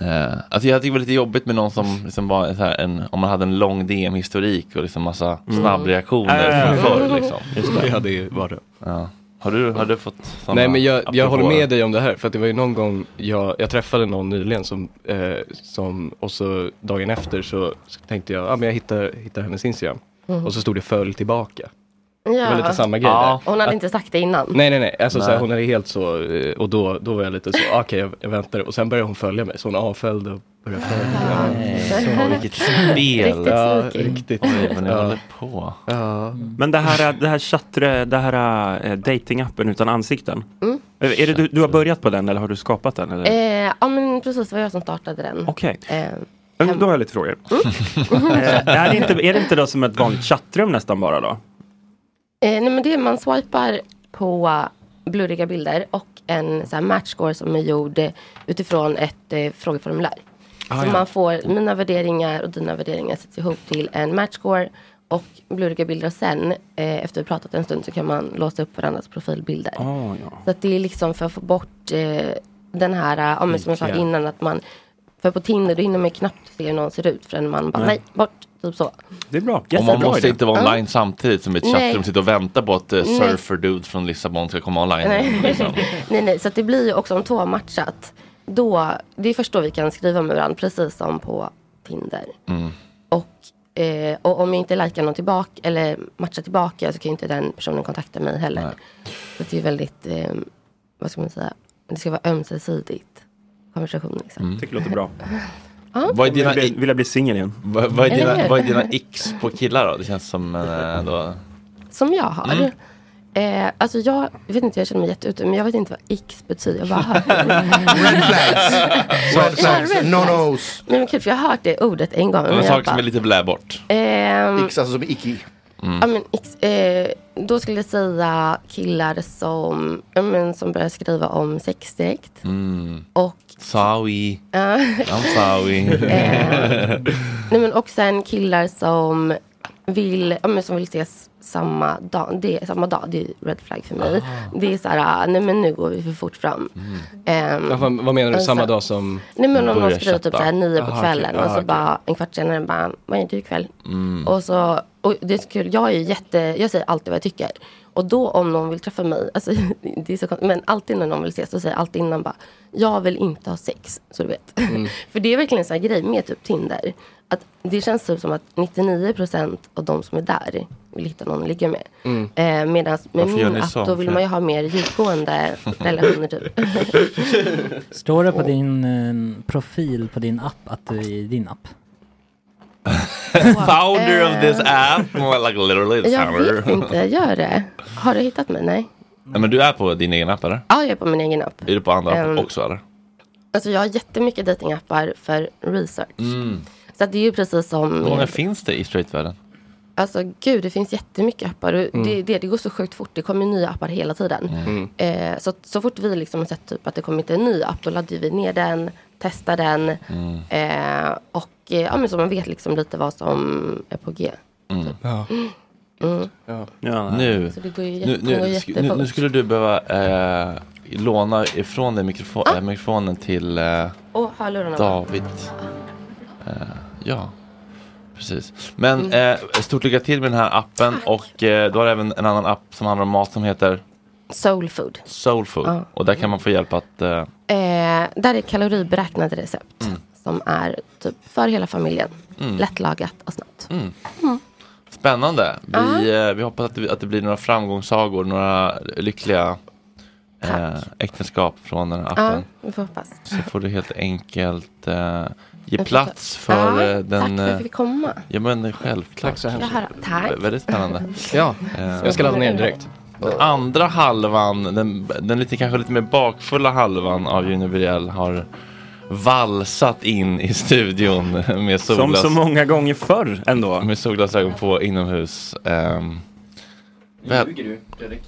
Eh, alltså jag tyckte det var lite jobbigt med någon som liksom var så här en, om man hade en lång DM-historik och liksom massa Mm. snabbreaktioner Ja, ja, ja. från förr liksom. Just det. Det hade ju varit. Ja. Har du, har du fått sådana Nej men jag, jag håller apropåer? med dig om det här för att det var ju någon gång jag, jag träffade någon nyligen som, eh, som och så dagen efter så tänkte jag, ja ah, men jag hittar, hittar hennes Instagram. Mhm. Och så stod det följ tillbaka. Ja. Det var lite samma grej där. Hon hade Att- inte sagt det innan. Nej nej nej, alltså Så här, Nej. hon är helt så eh, och då, då var jag lite så, ah, okej jag, jag väntar och sen började hon följa mig så hon avföljde och började Ah. följa mig. Så, vilket spel! Ja, riktigt. Oj, vad ni Ja. håller på. Men det här, det här chattre, det här eh, datingappen utan ansikten. Eh, Är det, du, du har börjat på den eller har du skapat den? Eller? Eh, ja men precis, det var jag som startade den. Okej. Eh, Men Då har jag lite frågor. Eh, är, det inte, är det inte då som ett vanligt chattrum nästan bara då? Eh, nej men det är man swipar på blurriga bilder och en så här, matchscore som är gjord eh, utifrån ett eh, frågeformulär. Ah, så ja. man får mina värderingar och dina värderingar sätts ihop till en matchscore och blurriga bilder och sen eh, efter vi pratat en stund så kan man låsa upp varandras profilbilder. Ah, ja. Så att det är liksom för att få bort eh, den här, eh, ja, men som jag sa Likhet. innan att man för på Tinder då hinner man ju knappt se hur någon ser ut förrän man bara Nej. nej, bort, typ så. Det är bra. och man måste inte vara online samtidigt som i ett Nej. chattrum sitter och vänta på att uh, Nej. surferdude från Lissabon ska komma online. igen, liksom. Nej. nej, nej, så att det blir ju också om två har matchat. Då, det är först då vi kan skriva med varandra, precis som på Tinder. Mm. Och, eh, och om jag inte likar någon tillbaka, eller matchar tillbaka, så kan ju inte den personen kontakta mig heller. Så det är väldigt, eh, vad ska man säga, det ska vara ömsesidigt. Konversation liksom. Mm. Tycker det låter bra. Ja. Vad är dina- vill, jag- vill jag bli singel igen? Vad, vad, är Eller dina, hur? vad är dina x på killar då? Det känns som eh, då... Som jag har. Mm. Eh, alltså jag, jag vet inte, jag känner mig jätteute, men jag vet inte vad X betyder. Jag bara hör Red flags. Red flags. No nos. Nej men kul, för jag har hört det ordet en gång. En jag sak bara- som är lite blä bort. Mm. Ehm, X alltså som icke. Ja, men, ex- eh, då skulle jag säga killar som, ja, men, som börjar skriva om sex direkt. Mm. Och- Sorry. Ja. I'm sorry. Eh. Nej, men, och sen killar som vill, ja, men, som vill ses samma dag. Det, samma dag, det är ju red flag för mig. Det är så här, ah, nej men nu går vi för fort fram. Mm. Ehm, Mm. Ja, vad, vad menar du, och samma sen- dag som Nej men om någon börjar skriver typ chatta? såhär nio på Aha, kvällen okej. och Ah, så okej. bara en kvart senare bara, vad gör du ikväll? Mm. Och så, och det är så kul, jag är ju jätte, jag säger alltid vad jag tycker. Och då om någon vill träffa mig, alltså, det är så konstigt, men alltid när någon vill ses så säger jag alltid innan bara Jag vill inte ha sex, så du vet. Mm. Mm. För det är verkligen en sån här grej med typ Tinder. Att det känns typ som att 99% av de som är där vill hitta någon att ligga med. Mm. Eh, Medan med Varför gör min ni app så? då vill man ju ha mer djupgående relationer typ. Står det på din eh, profil på din app att du är i din app? Founder of this app. More like literally the Ehm. Jag founder. vet inte, gör det? Har du hittat mig? Nej. Nej, men du är på din egen app eller? Ja, jag är på min egen app. Är du på andra Ehm, app också eller? Alltså jag har jättemycket datingappar för research. Mm. Så att det är ju precis som... Hur många med- finns det i straightvärlden? Alltså gud, det finns jättemycket appar. Och Mm. det, är det, det går så sjukt fort. Det kommer nya appar hela tiden. Mm. Eh, så, att så fort vi liksom har sett typ att det kommit en ny app, då laddar vi ner den, testar den. Eh, och eh, ja, men så man vet liksom lite vad som är på G. Mm. Mm. Ja, nu, Så det går ju jätte- nu, det går nu, jättefort. nu, nu skulle du behöva eh, låna ifrån dig mikrofo- eh, mikrofonen till eh, Ah. Åh, hörlurarna. Ah. David. Eh, ja, precis. Men Mm. eh, stort lycka till med den här appen och eh, du har även en annan app som handlar om mat som heter Soulfood. Soulfood. Ja. Och där kan man få hjälp att eh, Eh, där är kaloriberäknade recept Mm. som är typ för hela familjen. Mm. Lättlagat och snabbt. Mm. Mm. Spännande. Vi, Ah. eh, vi hoppas att det, att det blir några framgångssagor, några lyckliga eh, äktenskap från den här Ja, appen. vi får hoppas. Så får du helt enkelt eh, ge får plats ta- för Ja, eh, den... tack för att eh, jag fick komma. Ja, men självklart. Tack så hemskt Jaha, då. Tack. Väldigt spännande. Eh, Ja, jag ska ladda ner den direkt. Den andra halvan, den, den lite, kanske lite mer bakfulla halvan av Junior Birell har valsat in i studion med Som solglas. så många gånger förr ändå. Med solglasögon på inomhus. ehm, väl-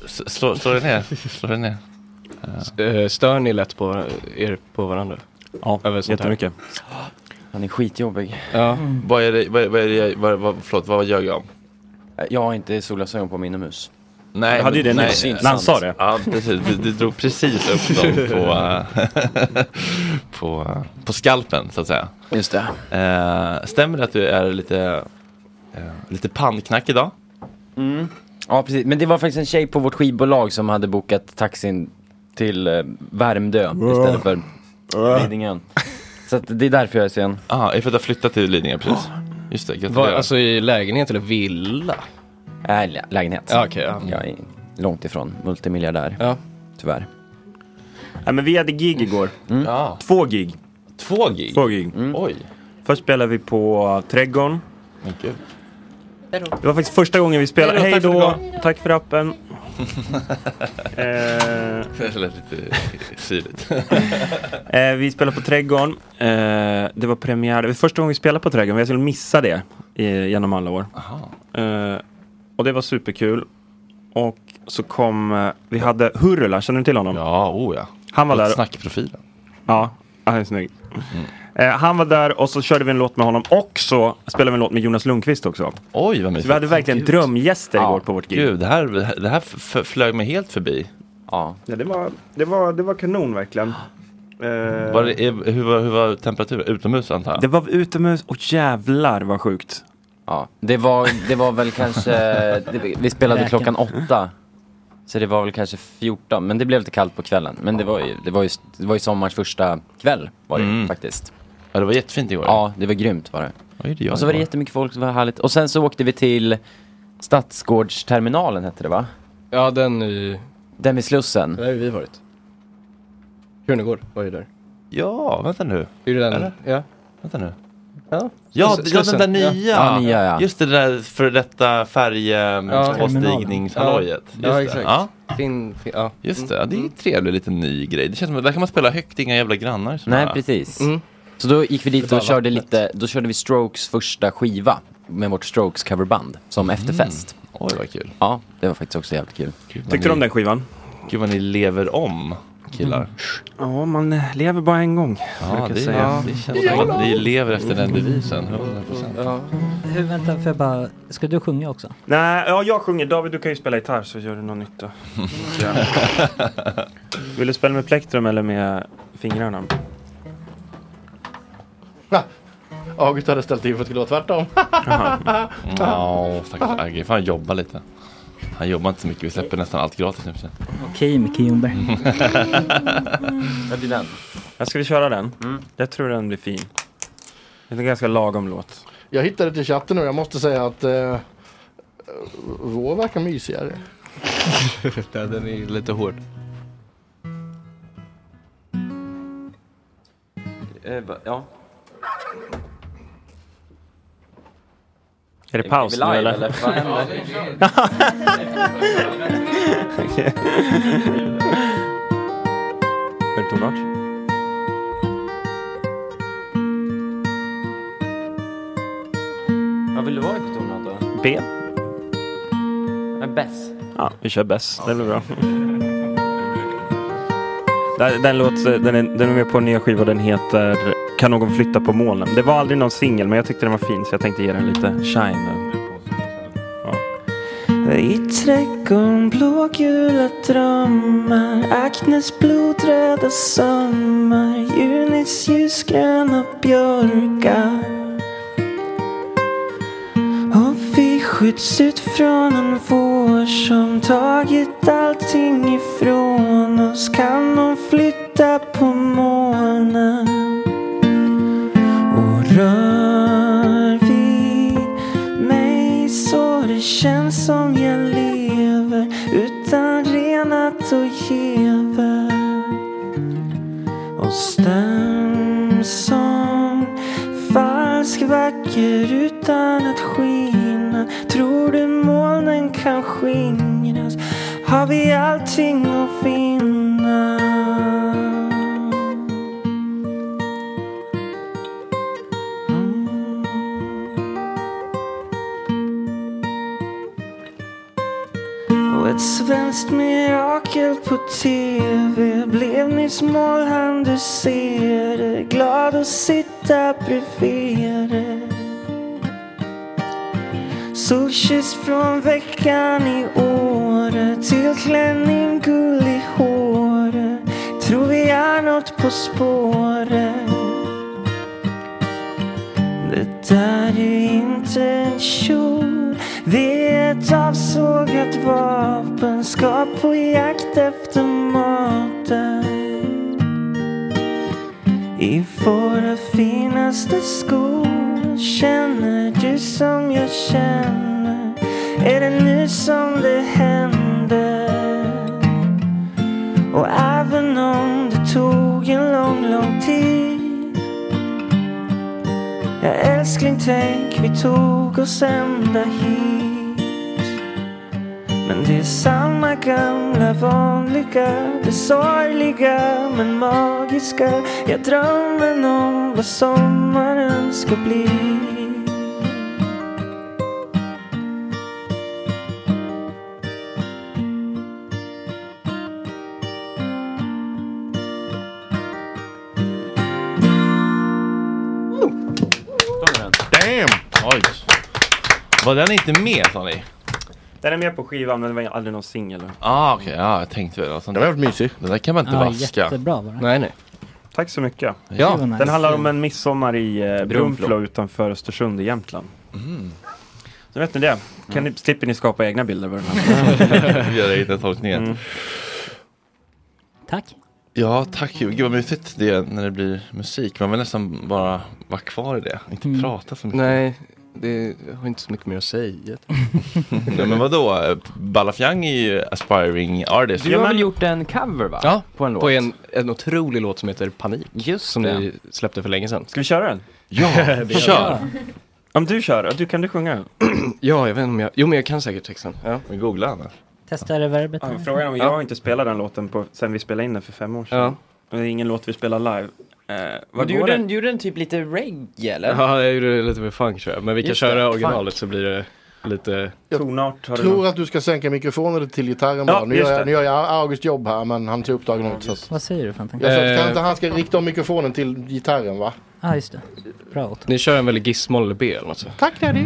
S- Slå, slå dig ner. Slå dig ner. Eh, Stör ni lätt på er på varandra? Ja, jättemycket. Han är skitjobbig. Ja. Mm. Vad är det, vad, vad är det jag- vad, vad, förlåt, vad ljög jag om? Äh, Jag har inte solglasögon på mig inomhus. Nej, Jag hade ju det men- nu, nej, när han sa det. Ja, precis. Du, du drog precis upp dem på, eh, på, eh, på skalpen, så att säga. Just det. stämmer det att du är lite, eh, lite pannknack idag? Mm. Ja, precis. Men det var faktiskt en tjej på vårt skivbolag som hade bokat taxin till eh, Värmdö istället för Lidingö. Så att det är därför jag är sen. Ja, Ah, är för att du har flyttat till Lidingö precis. Just det, Var, gratulerar. alltså i lägenhet eller villa? Äh, lä- lägenhet. Ja, okej, ja. Jag är långt ifrån multimiljardär. Ja. Tyvärr. Ja, men vi hade gig igår. Två gig. Mm. Två gig? Två gig. Oj. Först spelade vi på Trädgården. Hej då. Det var faktiskt första gången vi spelade. Hej då, Hej tack för då, tack för appen. eh, Det lät lite syrligt. Eh, vi spelade på Trädgården. Eh, det var premiär. Det var första gången vi spelade på Trädgården. Vi skulle missa det eh, genom alla år. Eh, och det var superkul. Och så kom, eh, vi hade Hurula, känner du till honom? Ja, oh ja. Han var där. Snackprofilen. Mm. Ja, han är snygg. Eh, han var där och så körde vi en låt med honom och så spelade vi en låt med Jonas Lundqvist också. Oj, vad mysigt. Så vi hade verkligen Gud. drömgäster igår på vårt gig. Gud, det här, det här f- f- flög mig helt förbi. Ja. Ja, det, var, det, var, det var kanon verkligen. Eh, Var det, är- hur, var, hur var temperaturen? Utomhus antar jag? det var utomhus och jävlar vad sjukt. Ja, det var, det var väl kanske, det, vi spelade Läken. klockan åtta. Så det var väl kanske 14, men det blev lite kallt på kvällen. Men det var ju, det var ju, det var ju sommarens första kväll var det Mm. faktiskt. Ja, det var jättefint igår. Ja, det var grymt var det. Oj, det gör och så var det igår. jättemycket folk, så var det härligt. Och sen så åkte vi till Stadsgårdsterminalen hette det va? Ja, den i... Den vid Slussen. Där har vi varit. Krunegård var ju där. Ja, vänta nu. Är det den? Eller? Ja. Vänta nu. Ja, Ja, Slussen. ja, den där nya. Ja, nya ja. Just det, det där för detta eh, Ja. färjpåstigningshallojet. Ja, ja, exakt. Ja. Fin, fin, ja. Mm. Just det, ja, det är ju en trevlig liten ny grej. Det känns som att där kan man spela högt, inga jävla grannar. som Nej, är- precis. Mm. Mm. Så då gick vi dit Det är och bara körde lite, då körde vi Strokes första skiva med vårt Strokes coverband som efterfest. Mm. Oj, vad kul. Ja, det var faktiskt också jävligt kul. Tyckte du om den skivan? Gud vad ni lever om, killar. Ja, man eh, lever bara en gång. Ja, brukar det, jag säga. det känns som att ni lever efter den devisen. 100 Hur, vänta, får jag bara, ska du sjunga också? Nej, ja, jag sjunger. David, du kan ju spela gitarr så gör du någon nytta. Vill du spela med plektrum eller med fingrarna? August Mm. hade ställt in för att det skulle vara tvärtom. Ja, stackars Agge. Får han jobba lite? Han jobbar inte så mycket, vi släpper nästan allt gratis nu för tiden. Okej, Micke Ljungberg. Det blir den. Ja, ska vi köra den? Mm. Jag tror den blir fin. Det är en ganska lagom låt. Jag hittade till chatten nu. Jag måste säga att eh, vår verkar mysigare. Den är lite hård. ja. Är det paus nu live, eller? eller? Vad händer? Okej. Är det tonart? Vad vill du vara i på tonart då? B? Men bäst. Ja, vi kör bäst. Det blir bra. Den, den, låt, den, är, den är med på en nya skiva. Den heter Kan någon flytta på molnen? Det var aldrig någon singel, men jag tyckte den var fin så jag tänkte ge den lite shine. I trädgården blågula drömmar Aknes blodröda sommar Junis ljusgröna björkar Och vi skjuts ut från en vår som tagit allting ifrån oss Kan de flytta på molnen Och rör vid mig så det känns som jag lever utan renat och gever och stäm som falsk vacker utan att skina tror du molnen kan skingras har vi allting att finna Och ett svenskt mirakel på TV Blev nyss målhand, du ser det Glad att sitta bredvid det Solkyss från veckan i Åre Till klänning guld i håret Tror vi är något på spåret det där är inte en kjol Det är ett avsågat vapen Ska på jakt efter maten I våra finaste skor Känner du som jag känner Är det nu som det händer Och även om det tog en lång, lång tid Ja älskling tänk vi tog oss ända hit Men det är samma gamla vanliga Det sorgliga men magiska Jag drömmer om vad sommaren ska bli Damn! Oj. Var den inte med sa ni? Den är med på skivan, men det var aldrig någon singel. Ah, okej. Ja, jag tänkte väl. Alltså, den var mysig. Den där kan man inte Ja, vaska. jättebra var den. Nej, nej. Tack så mycket. Ja. Den handlar om en midsommar i eh, Brunflo Brunflo. utanför Östersund i Jämtland. Så vet ni det. Kan ni, slipper ni skapa egna bilder över den här. Mm. Vi gör egna tolkningar. Tack. Ja, tack. Gud vad mysigt det är när det blir musik. Man vill nästan bara vara kvar i det. Inte Mm. prata så mycket. Nej, det jag har inte så mycket mer att säga. Nej, men vadå? Ballafjang är ju aspiring artist. Du har väl gjort en cover va? Ja, på en låt. På en, en otrolig låt som heter Panik. som det. ni släppte för länge sedan. Ska vi köra den? Ja, kör. Om du kör, du, kan du sjunga? ja, jag vet inte om jag... Jo, men jag kan säkert texten. Ja. Vi googlar annars. Testa reverbet. Ja, frågan är om jag har inte spelat den låten på, sen vi spelade in den för fem år sedan. Ja. Och Det är ingen låt vi spelar live. Eh, Men vad du går gjorde det? en, du gjorde en typ lite reggae eller? Ja, jag gjorde lite med funk tror jag. Men vi kan Just köra det, originalet funk. så blir det lite... Tonart har Tror att du ska sänka mikrofonen till gitarren Ja, bara. Nu just gör, det. jag, nu gör jag August jobb här men han tog uppdragen ut. Så att... Vad säger du Fanten? Jag sa Eh. att kan inte han ska rikta om mikrofonen till gitarren va? Ja, just det. Bra Otto. Ni kör en väldigt gissmoll eller B eller något så. Tack Daddy!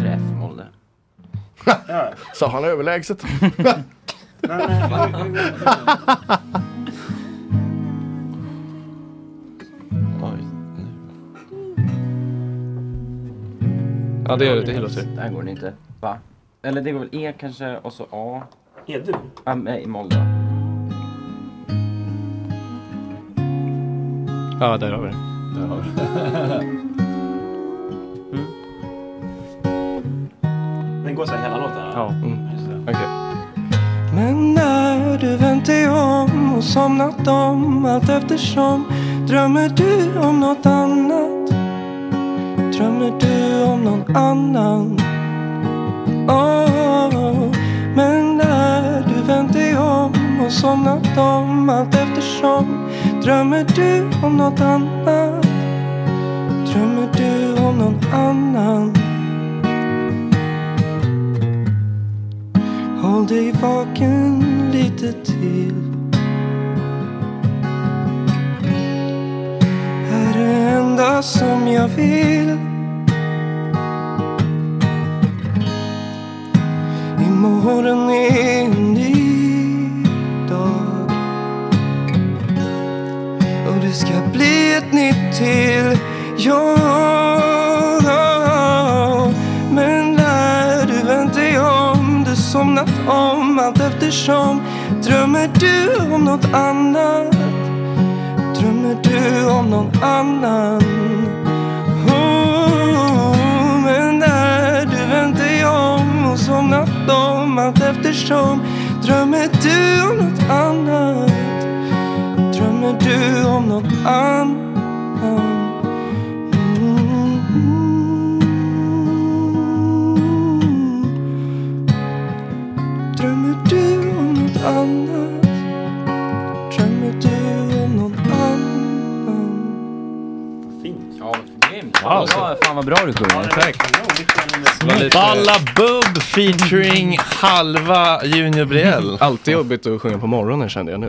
Är det F-moll det? Sa han överlägset. Ja, det gör det till Hillosur. Där går den inte. Va? Eller det går väl E kanske och så A? E du? Ja, nej, i moll då. Ja, där har vi det. Där har vi Den går så här hela låten? Mm. Ja. Mm. Okej. Men när du vänt dig om och somnat om allt eftersom drömmer du om något annat Drömmer du om någon annan oh, Men när du vänt dig om och somnat om allt eftersom drömmer du om något annat Drömmer du om någon annan Håll dig vaken lite till Är det enda som jag vill Imorgon är en ny dag Och det ska bli ett nytt till Ja, men när du vänt dig om Du somnat om allt eftersom Drömmer du om något annat Drömmer du om någon annan Oh, Men när du vänt dig om och somnat om allt eftersom Drömmer du om något annat Drömmer du om något annat Drömmer du om något annat? Drömmer du om någon annan? Fint. Ja, grymt. Wow. Bra, fan vad bra du sjunger. Tack. Balla Bubb featuring halva Junior Briell. Alltid jobbigt att sjunga på morgonen kände jag nu.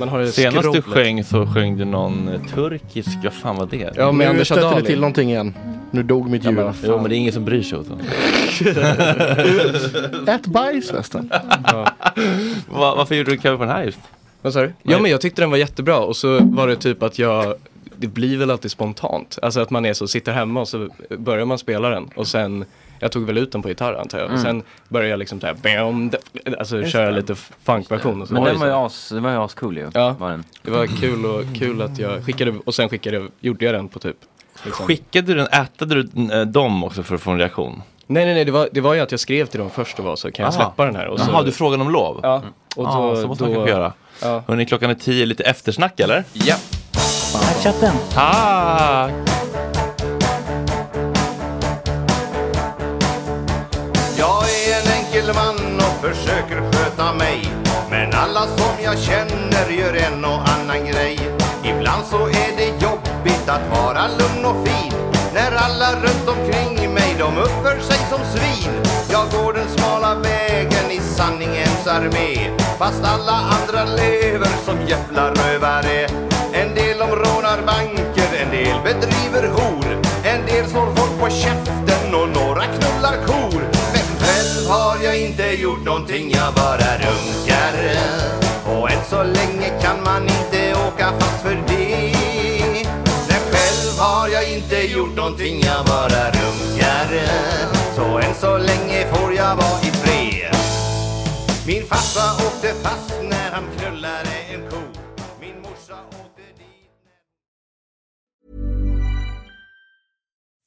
Man har det Senast du skrovlet. sjöng så sjöng du någon eh, turkisk, vad fan var det? Ja, men nu stötte du till någonting igen. Nu dog mitt djur. Jo men det är ingen som bryr sig åt honom. Ät bajs förresten. Va, varför gjorde du cover på den här just? Vad sa du? Ja men jag tyckte den var jättebra och så var det typ att jag Det blir väl alltid spontant. Alltså att man är så, sitter hemma och så börjar man spela den och sen jag tog väl ut den på gitarr antar jag. Och Mm. sen började jag liksom såhär, bam, d- alltså Just köra det. lite funkversion. och så Men var det den var ju så. as, den var ju ascool ju. Ja, Var den. det var kul och kul att jag skickade, och sen skickade jag, gjorde jag den på typ liksom. Skickade du den, ätade du den, eh, dem också för att få en reaktion? Nej nej nej, det var, det var ju att jag skrev till dem först och var så, kan jag Aha. släppa den här? Och så, Jaha, du frågade om lov? Mm. Ja. Och då, ah, så måste då, man kanske göra. Ja. Hörrni, klockan är tio, lite eftersnack eller? Ja. Här chatten. Tack! Jag är en enkel man och försöker sköta mig Men alla som jag känner gör en och annan grej Ibland så är det jobbigt att vara lugn och fin När alla runt omkring mig de uppför sig som svin Jag går den smala vägen i sanningens armé Fast alla andra lever som jävla rövare En del de rånar banker, en del bedriver hor En del slår folk på käften och några knullar kor Men själv har jag inte gjort någonting, jag bara runkar Och än så länge kan man inte åka fast för det Men själv har jag inte gjort någonting, jag bara runkar Så än så länge får jag vara i fred Min farsa åkte fast när han knullade en ko Min morsa åkte dit